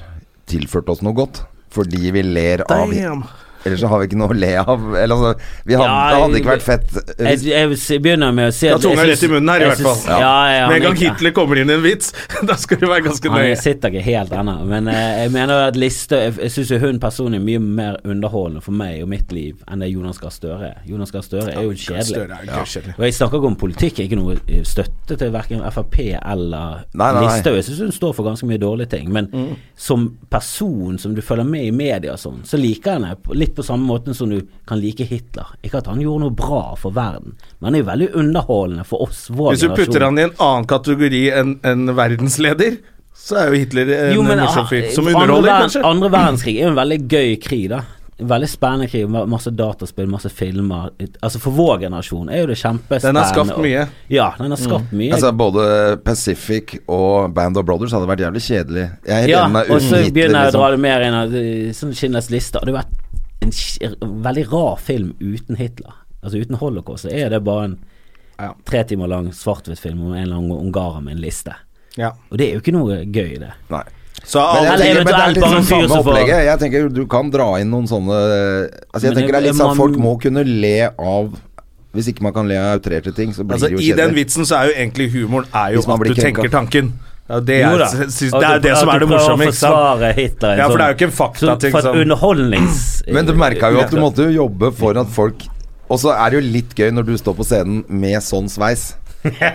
S1: tilført oss noe godt. Fordi vi ler av
S2: Damn.
S1: Ellers så har vi ikke noe å le av. Eller, altså, vi hadde,
S3: Ja,
S1: det hadde ikke
S3: jeg-
S1: vært fett eh,
S3: Jeg,
S1: hvis,
S3: jeg vil si- begynner med å si
S2: Ja,
S3: jeg
S2: tunga rett
S3: syns-
S2: i munnen her, i
S3: jeg
S2: hvert
S3: syns-
S2: fall.
S3: Ja, ja,
S2: Med en gang
S3: men-
S2: Hitler kommer inn i en vits, [LAUGHS] da skal du være ganske
S3: Han
S2: nøye.
S3: er- sitter ikke helt ennå, men eh, jeg mener at Liste Jeg, jeg syns hun personlig er mye mer underholdende for meg og mitt liv enn det Jonas Gahr Støre er. Jonas Gahr Støre er jo kjedelig.
S2: Støre er ikke kjedelig.
S3: Og jeg snakker ikke om politikk, ikke noe eh, støtte til verken Frp eller
S1: Nei, nei, nei.
S3: Listhaug. Jeg syns hun står for ganske mye dårlige ting, men
S2: Mm.
S3: som person som du følger med i media og sånn, så liker jeg henne på- litt på samme måten som du kan like Hitler. Ikke at han gjorde noe bra for verden, men han er jo veldig underholdende for oss, vår
S2: Hvis du
S3: generasjon.
S2: putter han i en annen kategori enn enn verdensleder, så er jo Hitler en
S3: Jo, men,
S2: morsom fyr.
S3: ah,
S2: Som
S3: andre
S2: underholder,
S3: verden-
S2: kanskje.
S3: Andre verdenskrig er jo en veldig gøy krig, da. En Veldig spennende krig. ma- Masse dataspill, masse filmer. Et- Altså For vår generasjon er jo det kjempespennende.
S2: Den har skapt
S3: og-
S2: mye.
S3: Ja, den har skapt mye.
S1: altså, Både Pacific og Band of Brothers hadde vært jævlig kjedelig. Jeg er helt
S3: ja,
S1: enig med
S3: og
S1: uten
S3: så
S1: Hitler,
S3: begynner jeg å dra
S1: liksom.
S3: det mer inn av eh, sånn Schindlers liste. Det hadde vært en sk- veldig rar film uten Hitler. Altså uten holocaust. Så er det bare en
S2: Ja.
S3: tre timer lang svart-hvitt-film om en eller annen ungarer med en liste.
S2: Ja.
S3: Og det er jo ikke noe gøy, det.
S1: Nei.
S2: Så
S1: Men
S2: alle
S1: jeg tenker,
S3: Eller
S1: men det er
S3: eventuelt
S1: litt
S3: bare en
S1: sånn
S3: fyr
S1: samme
S3: som får-
S1: opplegget. Jeg tenker Du kan dra inn noen sånne Altså
S3: Men
S1: Jeg tenker det er
S3: det-
S1: litt sånn
S3: man-
S1: folk må kunne le av Hvis ikke man kan le av outrerte ting, så blir
S2: Altså,
S1: det jo
S2: I den
S1: kjedelig.
S2: vitsen så er jo egentlig humoren er jo
S1: Hvis man
S2: at
S1: blir
S2: du
S1: krenka.
S2: tenker tanken. Ja, det,
S3: Jo
S2: er,
S3: da.
S2: synes,
S3: At
S2: det er
S3: du-
S2: det
S3: at
S2: som
S3: du
S2: er det
S3: prøver å
S2: morsomme. Ikke sant?
S3: forsvare Hitler, en
S2: Ja, for det er
S3: sånn-
S2: jo ikke en
S3: sånn-
S2: faktating
S3: For
S2: som-
S3: et underholdnings...
S2: [CLEARS THROAT]
S1: Men du merka jo at du måtte jo jobbe for at folk Og så er det jo litt gøy når du står på scenen med sånn sveis.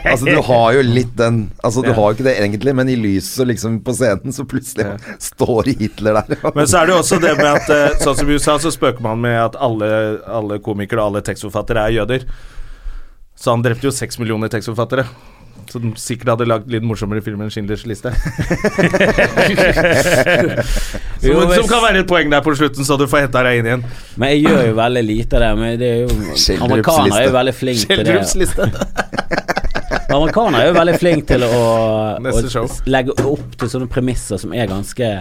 S1: Altså Du har jo litt den Altså Du har jo ikke det egentlig, men i lyset liksom på scenen, så plutselig står Hitler der.
S2: Men så er det jo også det med at eh, Sånn som i USA så spøker man med at alle, alle komikere og alle tekstforfattere er jøder. Så han drepte jo seks millioner tekstforfattere. Som sikkert hadde lagd litt morsommere film enn Schindlers liste.
S1: [LAUGHS]
S2: som, som kan være et poeng der på slutten, så du får henta deg inn igjen.
S3: Men jeg gjør jo veldig lite av det. Men det er jo
S1: Schjelderups
S3: Amerikanere er jo
S1: liste.
S3: veldig flinke til det.
S2: Schjelderups
S1: [LAUGHS]
S2: liste.
S3: Amerikanere er jo veldig flinke til å,
S2: [LAUGHS] Neste
S3: å
S2: show.
S3: legge opp til sånne premisser som er ganske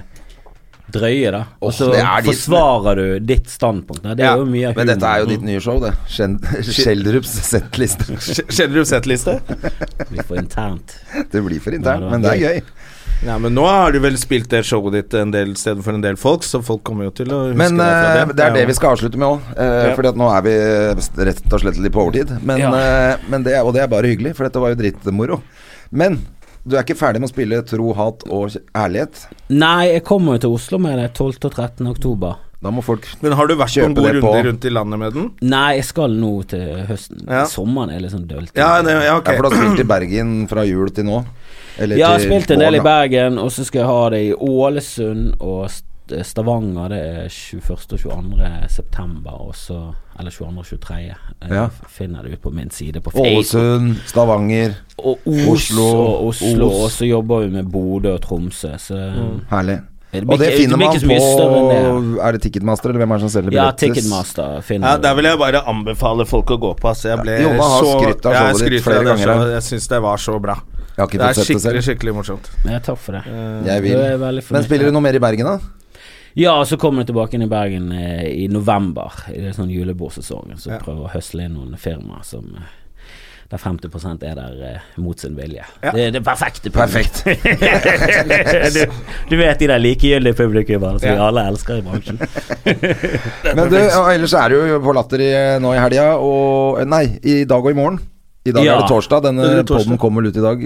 S3: drøye, da. Og
S1: Åh,
S3: så
S1: det er ditt-
S3: forsvarer du ditt standpunkt. Da. Det er jo mye av
S1: Men dette er jo
S3: humoren.
S1: ditt nye show, det. Skjen- Schjelderups settliste.
S2: Schjelderups settliste.
S3: Vi får internt.
S1: Det blir for
S3: Ja,
S1: internt,
S3: det
S1: men det
S3: var
S1: er gøy.
S2: Nei, men nå har du vel spilt det showet ditt en del steder for en del folk, så folk kommer jo til å huske
S1: Men
S2: deg fra
S1: eh, det er det vi skal avslutte med òg. Uh,
S2: Ja.
S1: Fordi at nå er vi eh, rett og slett litt på overtid. Men,
S3: Ja.
S1: eh, men det, og det er bare hyggelig, for dette var jo drittmoro. Men du er ikke ferdig med å spille Tro, hat og ærlighet.
S3: Nei, jeg kommer jo til Oslo med det 12. og 13. oktober.
S1: Da må folk
S2: Men har du vært
S1: Kjøpe
S2: noen gode
S1: det på-
S2: runder rundt i landet med den?
S3: Nei, jeg skal nå til høsten.
S2: Ja.
S3: Sommeren er litt sånn dølt.
S2: Ja, det, ja ok.
S1: Ja, for du har spilt i Bergen fra jul til nå? Eller
S3: Jeg har
S1: til
S3: spilt en del i
S1: våren, da.
S3: Bergen, og så skal jeg ha det i Ålesund og St- eh, Stavanger. Det er 21. og 22. september, og så Eller 22. og 23. Jeg
S1: Ja.
S3: finner det ut på min side på Facebook.
S1: Ålesund, Stavanger.
S3: Og Os,
S1: Oslo,
S3: og Oslo,
S1: Os.
S3: og så jobber vi med Bodø og Tromsø, så
S1: Herlig.
S3: Det blir
S1: Og det
S3: ikke-
S1: finner
S3: det blir
S1: man
S3: ikke så mye større
S1: på Er det Ticketmaster, eller hvem er det eh, som selger
S3: Ja,
S1: billetter?
S3: Ticketmaster finner
S2: Ja,
S3: du.
S2: Der vil jeg bare anbefale folk å gå på. Altså, jeg ble
S1: Mm. Ja, Jonna har
S2: så-
S1: skrytt av
S2: Ja, jeg
S1: showet ditt
S2: skryter
S1: flere
S2: av det
S1: ganger her.
S2: showet. Jeg syns det var så bra.
S1: Jeg har ikke
S2: Det er
S1: fått sett det
S2: skikkelig,
S1: selv.
S2: skikkelig morsomt.
S3: Ja, takk for det.
S1: Jeg vil.
S3: Det er veldig fornøyd.
S1: Eh, Men spiller du noe mer i Bergen, da?
S3: Ja, og så kommer jeg tilbake inn i Bergen eh, i november. I det sånn julebordsesongen. Så
S2: Ja.
S3: prøver å høsle inn noen firmaer som eh, der 50 er der eh, mot sin vilje.
S2: Ja.
S3: Det er det perfekte
S1: Perfekt.
S3: du, du vet de der likegyldige publikummerne som vi
S2: Ja.
S3: alle elsker
S1: [LAUGHS]
S3: i bransjen.
S1: Men du, og ellers er du jo på Latter i, eh, nå i helga, og eh, Nei, i dag og i morgen. I dag
S3: Ja.
S1: er det torsdag. Denne
S2: Det er torsdag.
S1: podden kommer vel ut i dag.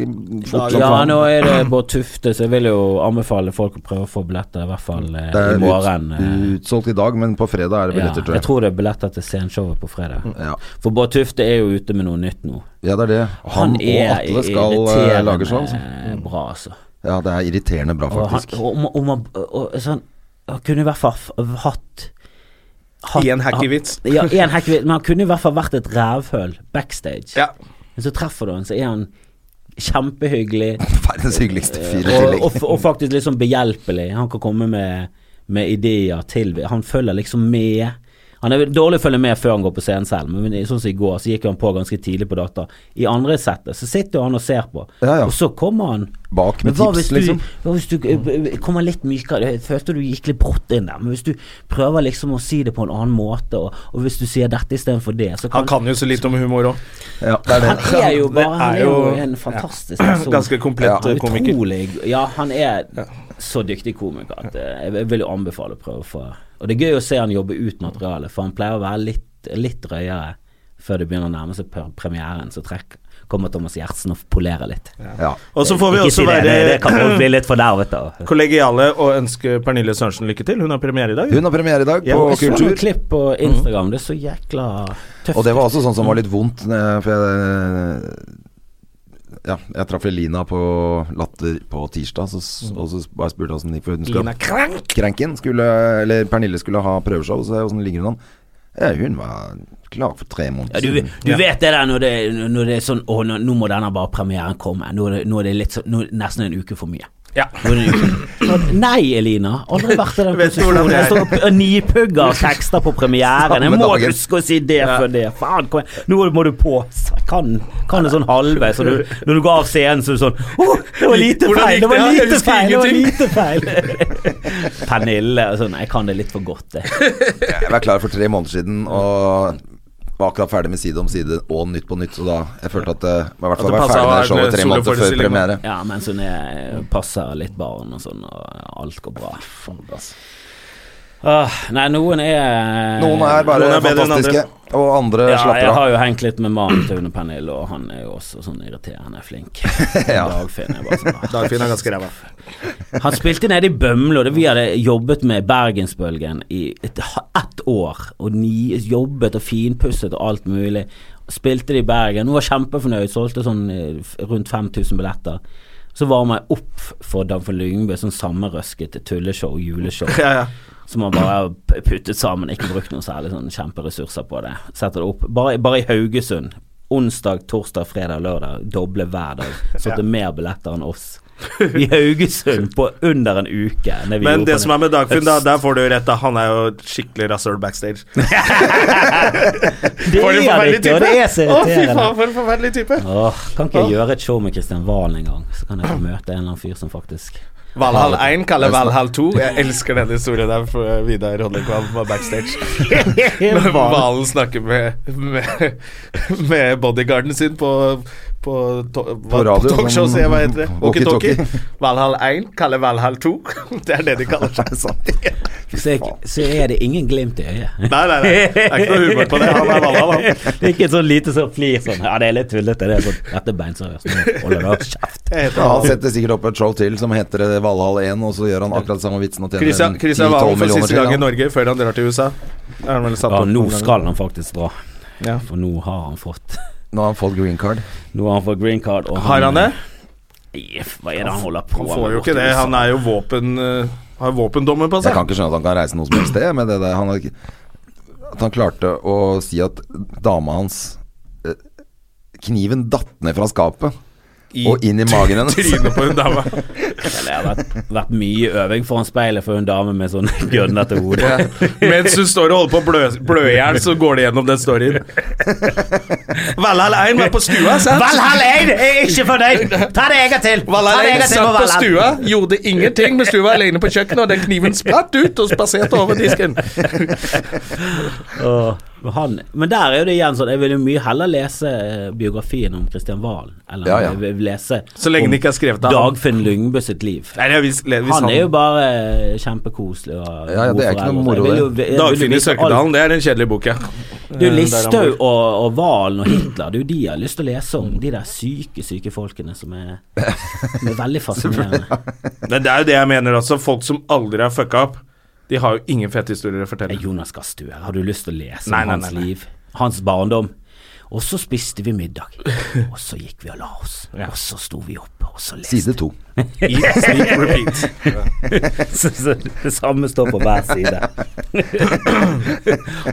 S1: Fort som
S3: Ja,
S1: faen.
S3: nå er det Bård Tufte, så jeg vil jo anbefale folk å prøve å få billetter, i hvert fall eh,
S1: det
S3: i
S1: er
S3: morgen. eh.
S1: ut, utsolgt i dag, men på fredag er det
S3: ja,
S1: billetter,
S3: jeg
S1: tror jeg. Mm,
S3: tror det er billetter til scenshowet på fredag.
S1: Ja.
S3: For Bård Tufte er jo ute med noe nytt nå.
S1: ja, det er det. Han, og Atle skal eh,
S3: irriterende
S1: lage show. altså.
S3: Bra, altså.
S1: Ja, det er irriterende bra,
S3: Og han,
S1: faktisk.
S3: og, om- om han- og, og sånn Han kunne i hvert fall f- hatt hatt-
S2: I en hacky vits.
S3: Ja, i en hacky vits, men han kunne i hvert fall vært et rævhøl backstage.
S2: Ja.
S3: Men så treffer du han, så er han kjempehyggelig
S1: [LAUGHS] Verdens hyggeligste fyr i
S3: og, og,
S1: tillegg.
S3: f- og faktisk litt sånn behjelpelig. Han kan komme med, med ideer til Han følger liksom med. Han er dårlig å følge med før han går på scenen selv, men i- sånn som i går, så gikk han på ganske tidlig på data. I andre settet så sitter jo han og ser på,
S1: Ja, ja.
S3: og så kommer han
S1: Bak med
S3: Men hva
S1: tips,
S3: hvis du,
S1: liksom.
S3: Hva hvis du eh, kommer litt mykere? Jeg følte du gikk litt brått inn der, men hvis du prøver liksom å si det på en annen måte, og, og hvis du sier dette istedenfor det, så
S2: Han
S3: kan
S2: kan jo så litt om humor òg.
S1: Ja, det er
S3: han
S1: det.
S3: er jo
S2: Det
S3: bare Han
S2: er
S3: er jo
S2: jo-
S3: en fantastisk person.
S2: Ganske komplett
S3: Ja,
S2: eh, komiker.
S3: Utrolig. Ja, han er så dyktig komiker at eh, jeg vil jo anbefale å prøve å få Og det er gøy å se han jobbe ut materialet, for han pleier å være litt, litt drøyere før det begynner å nærme seg pre- premieren, så trekk, kommer Thomas Gjertsen og polerer litt.
S1: Ja.
S2: Og så får vi
S3: Ikke
S2: også
S3: si det, det, det kan jo
S2: være
S3: bli litt fordervet, da.
S2: [CLEARS THROAT] kollegiale og ønske Pernille Sørensen lykke til. Hun har premiere i dag.
S1: Hun har premiere i dag
S2: Ja,
S1: på
S3: Jeg så noen
S1: Kultur.
S3: klipp på Instagram, det er så jækla tøft.
S1: Og det var også sånn som var litt vondt, eh, for jeg ja, jeg traff Lina på Latter på tirsdag, så, s- og så s- bare spurte jeg åssen det gikk. for hun skulle-
S2: Mm. Lina Krank!
S1: Krenken skulle, eller Pernille skulle ha prøveshow, så åssen ligger hun an? Ja, hun var klar for tre måneder
S3: Ja, du,
S1: siden.
S3: du vet det der når det, når det er sånn Å, nå, nå må denne bare premieren komme. Nå er det, nå er det litt så, nå, er det nesten en uke for mye.
S2: Ja.
S3: Nå er det en uke. Sånn, Nei, Elina. Aldri vært i den
S2: [LAUGHS] Vet du hvordan
S3: posisjonen.
S2: det er?
S3: Jeg står og p- nipugger tekster på premieren. Jeg
S1: Samme
S3: må
S1: dagen.
S3: huske å si det for det. Faen, kom igjen. Nå må du på. Kan, kan det sånn halvveis. så du- Når du går av scenen, så er du sånn Å, det var lite
S2: Hvordan
S3: feil!
S2: gikk
S3: Det var
S2: det? Jeg
S3: lite
S2: husker
S3: feil! Det var
S2: ingenting.
S3: lite feil. [LAUGHS] Pernille og sånn. Jeg kan det litt for godt, det.
S1: Jeg var klar for tre måneder siden, og var akkurat ferdig med Side om side og Nytt på nytt, så da jeg følte at det var i hvert
S2: At
S1: fall
S2: det
S1: være
S2: passet
S1: ferdig
S2: å ha
S1: med showet
S2: en
S1: tre måneder før
S2: soloforestilling, da.
S1: premiere.
S3: Ja, mens hun er, passer litt barn og sånn, og alt går bra. Åh, nei, noen er
S1: Noen er bare
S2: Noen er bedre enn
S1: fantastiske, og andre
S3: ja,
S1: slapper
S3: jeg
S1: av.
S3: har jo hengt litt med mannen til Une Pernille, og han er jo også sånn irriterende
S1: [LAUGHS]
S3: flink.
S1: Ja.
S3: Dagfinn er bare sånn ah.
S2: Dagfinn er ganske ræva.
S3: Han spilte nede i Bømlo, og det vi hadde jobbet med Bergensbølgen i ett et år. Og ni, jobbet og finpusset og alt mulig. Spilte det i Bergen. Hun var kjempefornøyd, solgte sånn eh, f- rundt 5000 billetter. Så varma jeg opp for Damfen Lyngbø, sånn sammenrøsket tulleshow, juleshow.
S2: [LAUGHS] Ja, ja.
S3: Som man bare har p- puttet sammen, ikke brukt noen særlig sånn kjemperessurser på det. Setter det opp. Bare, bare i Haugesund. Onsdag, torsdag, fredag, lørdag. Doble hver
S2: [LAUGHS]
S3: dag. Så det er mer billetter enn oss. I Haugesund på under en uke. når vi
S2: Men
S3: gjorde
S2: det
S3: på
S2: som er
S3: den-
S2: med Dagfinn, da, der får du jo rett. da Han er jo et skikkelig rasshøl
S3: [LAUGHS]
S2: backstage.
S3: Det
S2: For en
S3: er det
S2: forferdelig
S3: ikke, og det er så
S2: type! Å, fy
S3: irriterende.
S2: faen, for en forferdelig type!
S3: Åh, kan ikke jeg gjøre et show med Kristian Valen en gang? Så
S2: [CLEARS THROAT]
S3: kan jeg få møte en eller annen fyr som faktisk
S2: Valhall 1 kaller Valhall 2. Jeg elsker den historien der for eh, Vidar Hollenkvam var backstage.
S1: [LAUGHS]
S2: Når Valen snakker med, med, med bodyguarden sin på på, to, hva-
S1: radio,
S2: på talkshow,
S1: sånn
S2: sier jeg, hva heter det?
S1: walkie-talkie.
S2: Walkietalkie. Valhall 1 kaller Valhall 2. [LAUGHS] Det er det de kaller
S1: [LAUGHS]
S2: seg.
S1: Sånn.
S3: så er, så er det ingen glimt i øyet.
S2: Nei, nei, nei. Det er ikke noe humor på det. Han er Valhall, han.
S3: Det er ikke et sånn lite sånn flir sånn Ja, det er litt tullete. Det er sånn Dette er beinseriøst. Nå Holder dere kjeft.
S1: Ja,
S2: Jeg heter
S1: han
S2: Valhall.
S1: setter sikkert opp et show til som heter eh, Valhall 1, og så gjør han akkurat samme vitsen og tjener
S2: Christian,
S1: en
S2: Christian
S1: 10-12
S2: Valen for
S1: millioner
S2: siste gang i
S1: til, da.
S2: Norge før han drar til USA. Er han vel satt
S3: Ja,
S2: opp
S3: nå
S2: noen ganger.
S3: skal han faktisk dra.
S2: Ja.
S3: For nå har han fått
S1: Nå har han fått green card.
S3: Nå har han fått green card. Og
S2: Har han det?
S3: Nei, Hva er det han holder på
S2: Han
S3: med?
S2: får jo
S3: borte
S2: ikke det.
S3: i USA?
S2: Han er jo våpen eh, Har våpendommen på
S1: Jeg
S2: seg.
S1: kan ikke skjønne at han kan reise noe som helst sted med det der. Han har, ikke- at han klarte å si at dama hans eh, Kniven datt ned fra skapet og inn i magen hennes.
S2: trynet på
S1: [LAUGHS]
S2: hun dama.
S3: Det har vært, vært mye øving foran speilet for en dame med
S2: [LAUGHS]
S3: sånn gønner til hodet.
S2: Mens hun står og holder på å blø, blø i hjel, så går det gjennom den
S1: [LAUGHS]
S2: storyen. Valhall 1 var på stua, sant?
S3: Valhall 1 er ikke fornøyd! Ta det en gang til!
S2: Valhall
S3: Ta det en
S2: 1
S3: gang til på
S2: satt på
S3: Valhall.
S2: stua, gjorde ingenting mens du var alene på kjøkkenet, og den kniven spratt ut og spaserte over disken.
S3: Åh, men han, men der er jo det igjen sånn Jeg vil jo mye heller lese eh, biografien om Kristian Valen. Eller
S1: Ja, ja.
S3: jeg vil lese
S2: Så lenge
S3: om
S2: den ikke er skrevet av han.
S3: Dagfinn Lyngbø sitt liv.
S2: Nei, det er hvis, hvis
S3: Han er jo bare eh, kjempekoselig og
S1: Ja, ja, det er ikke noe moro, det.
S2: Dagfinn i Sørkedalen, det er den kjedelige boka.
S3: Du, Listhaug og, og Valen og Hitler, det er jo de jeg har lyst til å lese om. De der syke, syke folkene som er,
S1: [LAUGHS]
S3: som er veldig fascinerende.
S2: Men det er jo det jeg mener også. Folk som aldri har fucka opp, de har jo ingen fete historier å
S3: Eh,
S2: fortelle.
S3: Jonas Gahr Støre, har du lyst til å lese
S2: Nei,
S3: om
S2: nei,
S3: hans
S2: nei, nei.
S3: liv? Hans barndom? Og så spiste vi
S2: [LAUGHS]
S3: middag, og så gikk vi og la oss, og så sto vi opp, og så leste
S1: Side to.
S2: Eat, sleep, repeat.
S3: [LAUGHS] Så- så det samme står på hver
S2: [LAUGHS]
S3: side.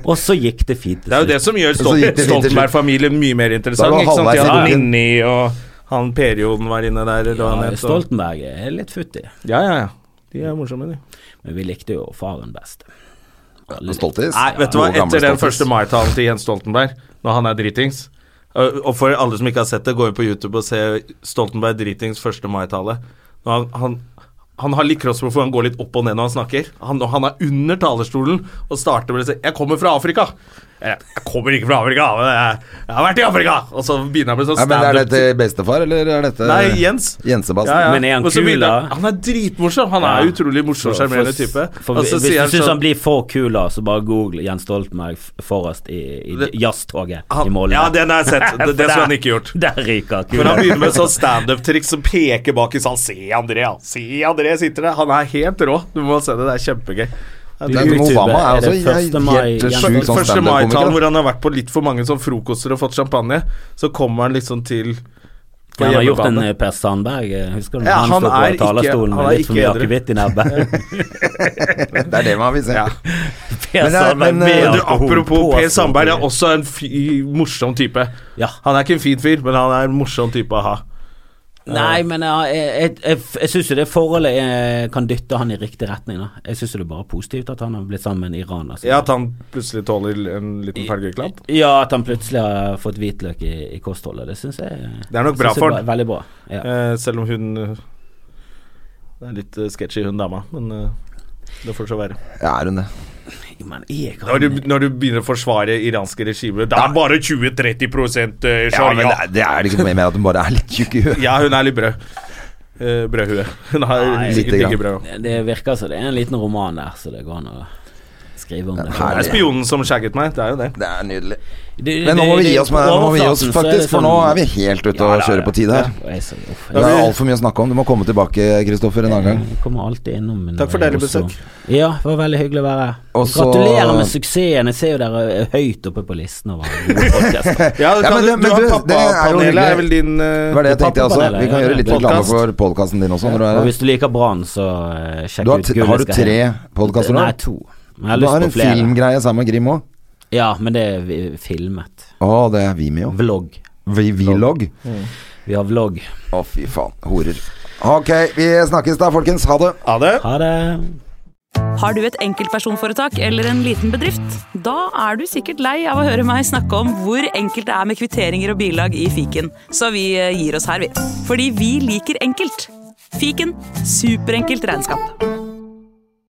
S3: og så gikk det fint. til
S2: Det er jo det
S3: slutt.
S2: som gjør
S1: så
S2: Stol-
S1: gikk det fint til slutt.
S2: Stoltenberg-familien mye mer
S1: Da
S2: interessant.
S1: var
S2: Ikke sant? De
S1: halvveis
S2: hadde
S1: i boken.
S2: Ninni og han perioden var inne der. Eller hva han
S3: ja,
S2: het, og-
S3: Stoltenberg er litt futtig,
S2: Ja, ja, ja. De er morsomme, de.
S3: men vi likte jo faren best.
S1: Stoltis.
S2: Nei, vet du hva,
S1: Gode, gamle
S2: etter den
S1: Stoltis.
S2: første mai-talen til Jens Stoltenberg, når han er dritings øh, Og for alle som ikke har sett det, gå inn på YouTube og se Stoltenberg dritings første mai-tale. Når Han, han, han har litt crossbow, for han går litt opp og ned når han snakker. Han, han er under talerstolen og starter med å si 'Jeg kommer fra Afrika'. Jeg jeg kommer ikke fra Afrika, men jeg, jeg har vært i Afrika! Og så begynner jeg med sånn
S1: Ja, men Er
S2: standup.
S1: dette bestefar, eller er dette
S2: Nei, Jens.
S1: Jensebassen?
S3: Men er han
S2: Og så
S3: kul,
S2: begynner-
S3: da?
S2: Han er dritmorsom. Han er
S3: Ja.
S2: utrolig morsom,
S3: For-
S2: sjarmerende
S3: for-
S2: type.
S3: For,
S2: Og så
S3: hvis
S2: sier
S3: du
S2: han
S3: syns han
S2: sånn
S3: blir for kul, da, så bare google Jens Stoltenberg f- forrest i, i
S2: Det-
S3: jazztoget
S2: han-
S3: i Molde.
S2: Ja, den har jeg sett.
S3: [LAUGHS] For
S2: Det- det skulle han
S3: der-
S2: ikke gjort.
S3: Der ryker
S2: For han
S3: kula.
S2: begynner med sånn standup-triks som peker bak i salen. Se André, han. Se André sitter der. Han er helt rå. Du må se det. Det er kjempegøy.
S1: Det er som
S3: YouTube,
S1: Obama er
S3: er det
S1: også
S3: første mai-
S1: helt
S3: Jens-
S1: sjuk sånn
S2: Første mai-talen hvor
S1: standup-komiker. da.
S2: han har vært på litt for mange sånn frokoster og fått champagne, så kommer han liksom til på
S3: Han har gjort en
S2: hjemmebane.
S3: eh, Per Sandberg, eh, husker du?
S2: Ja,
S3: han
S2: han
S3: sto
S2: er
S3: på
S2: ikke-
S3: talerstolen
S2: han
S3: med
S2: er
S3: litt for
S2: ikke
S3: mye
S2: edru.
S3: akevitt i
S2: [LAUGHS]
S3: nebbet.
S1: [LAUGHS] Det er det man vil se.
S3: Per
S1: Men det er-
S3: Sandberg
S1: men,
S3: med
S1: eh,
S2: Men du,
S3: alkohol
S2: apropos
S3: på
S2: Per Sandberg, er
S3: Stortinget.
S2: også en fy, morsom type.
S3: Ja.
S2: Han er ikke en fin fyr, men han er en morsom type å ha.
S3: Nei, men ja, jeg, jeg, jeg, jeg syns jo det forholdet eh, kan dytte han i riktig retning. da Jeg syns jo det er bare positivt at han har blitt sammen med en iraner. som-
S2: Ja, at han plutselig tåler en liten felgeklatt.
S3: Ja, at han plutselig har fått hvitløk i, i kostholdet. Det syns jeg
S2: Det er nok
S3: synes
S2: bra
S3: jeg
S2: for
S3: var
S2: han.
S3: Veldig bra. Ja.
S2: Eh, selv om hun eh, Det er litt eh, sketchy, hun dama, men eh, det får så være.
S1: Ja, er hun det?
S3: Men jeg kan
S2: Når du, når du begynner å forsvare iranske regimer Det er bare 20-30 prosent, eh,
S1: Ja, men
S2: sharia.
S1: det er, det er liksom mer at hun bare er litt tjukk i
S3: [LAUGHS]
S1: huet.
S2: Ja, hun er litt brød. Eh, brødhue. Hun har
S3: Nei,
S2: sikkert
S1: lite
S2: ikke
S1: grann.
S2: brød.
S3: Det virker som det er en liten roman der, så det går an å skrive om det.
S2: Det er spionen som shagget meg, det er jo det.
S1: Det er nydelig.
S3: Det- det-
S1: Men nå må vi gi
S3: det-
S1: oss, med, nå må vi gi oss
S3: overflaten så er det
S1: faktisk, for nå
S3: sånn-
S1: er vi helt ute
S3: Ja,
S1: og
S3: ja,
S1: kjører
S3: ja.
S1: på tide her.
S3: Ja, jeg ser- uff,
S1: Det er altfor mye å snakke om. Du må komme tilbake, Kristoffer, en annen gang.
S3: jeg kommer alltid innom. når
S2: Takk for
S3: jeg er i
S2: deilig
S3: Oslo.
S2: besøk.
S3: Ja, det var veldig hyggelig å være her.
S1: Og så-
S3: Gratulerer med suksessen. Jeg ser jo dere er høyt oppe på listen
S1: [LAUGHS]
S3: over gode podcaster.
S2: Ja,
S1: Ja,
S2: kan
S1: men
S2: du,
S1: det-
S2: du
S1: men du, det
S2: har
S1: er jo
S2: pappapanelet, er
S1: hyggelig.
S2: vel din eh,
S1: Det var det jeg tenkte, jeg også.
S3: Pappapanelet,
S1: Vi kan
S3: ja,
S1: gjøre litt
S3: podcast.
S1: reklame for podkasten din også. Når du er
S3: Og
S1: her.
S3: hvis du liker Brann, så eh, sjekk
S1: Du har,
S3: ut
S1: t-
S3: Gullet
S1: har du
S3: skal
S1: tre
S3: hjem.
S1: podkaster nå?
S3: Nei, to. Men jeg har
S1: Du har
S3: lyst
S1: en
S3: på flere.
S1: filmgreie sammen med Grim òg.
S3: Ja, men det er vi- filmet.
S1: Å, det er Vimeo.
S3: Vlogg.
S1: Vi- Vlog.
S3: Vi har vlogg.
S1: Å, fy faen. Horer. Ok, vi snakkes da, folkens. Ha det.
S2: Ha det.
S3: Ha det.
S4: Har du et enkeltpersonforetak eller en liten bedrift? Da er du sikkert lei av å høre meg snakke om hvor enkelt det er med kvitteringer og bilag i fiken, så vi eh, gir oss her, vi. Fordi vi liker enkelt. Fiken superenkelt regnskap.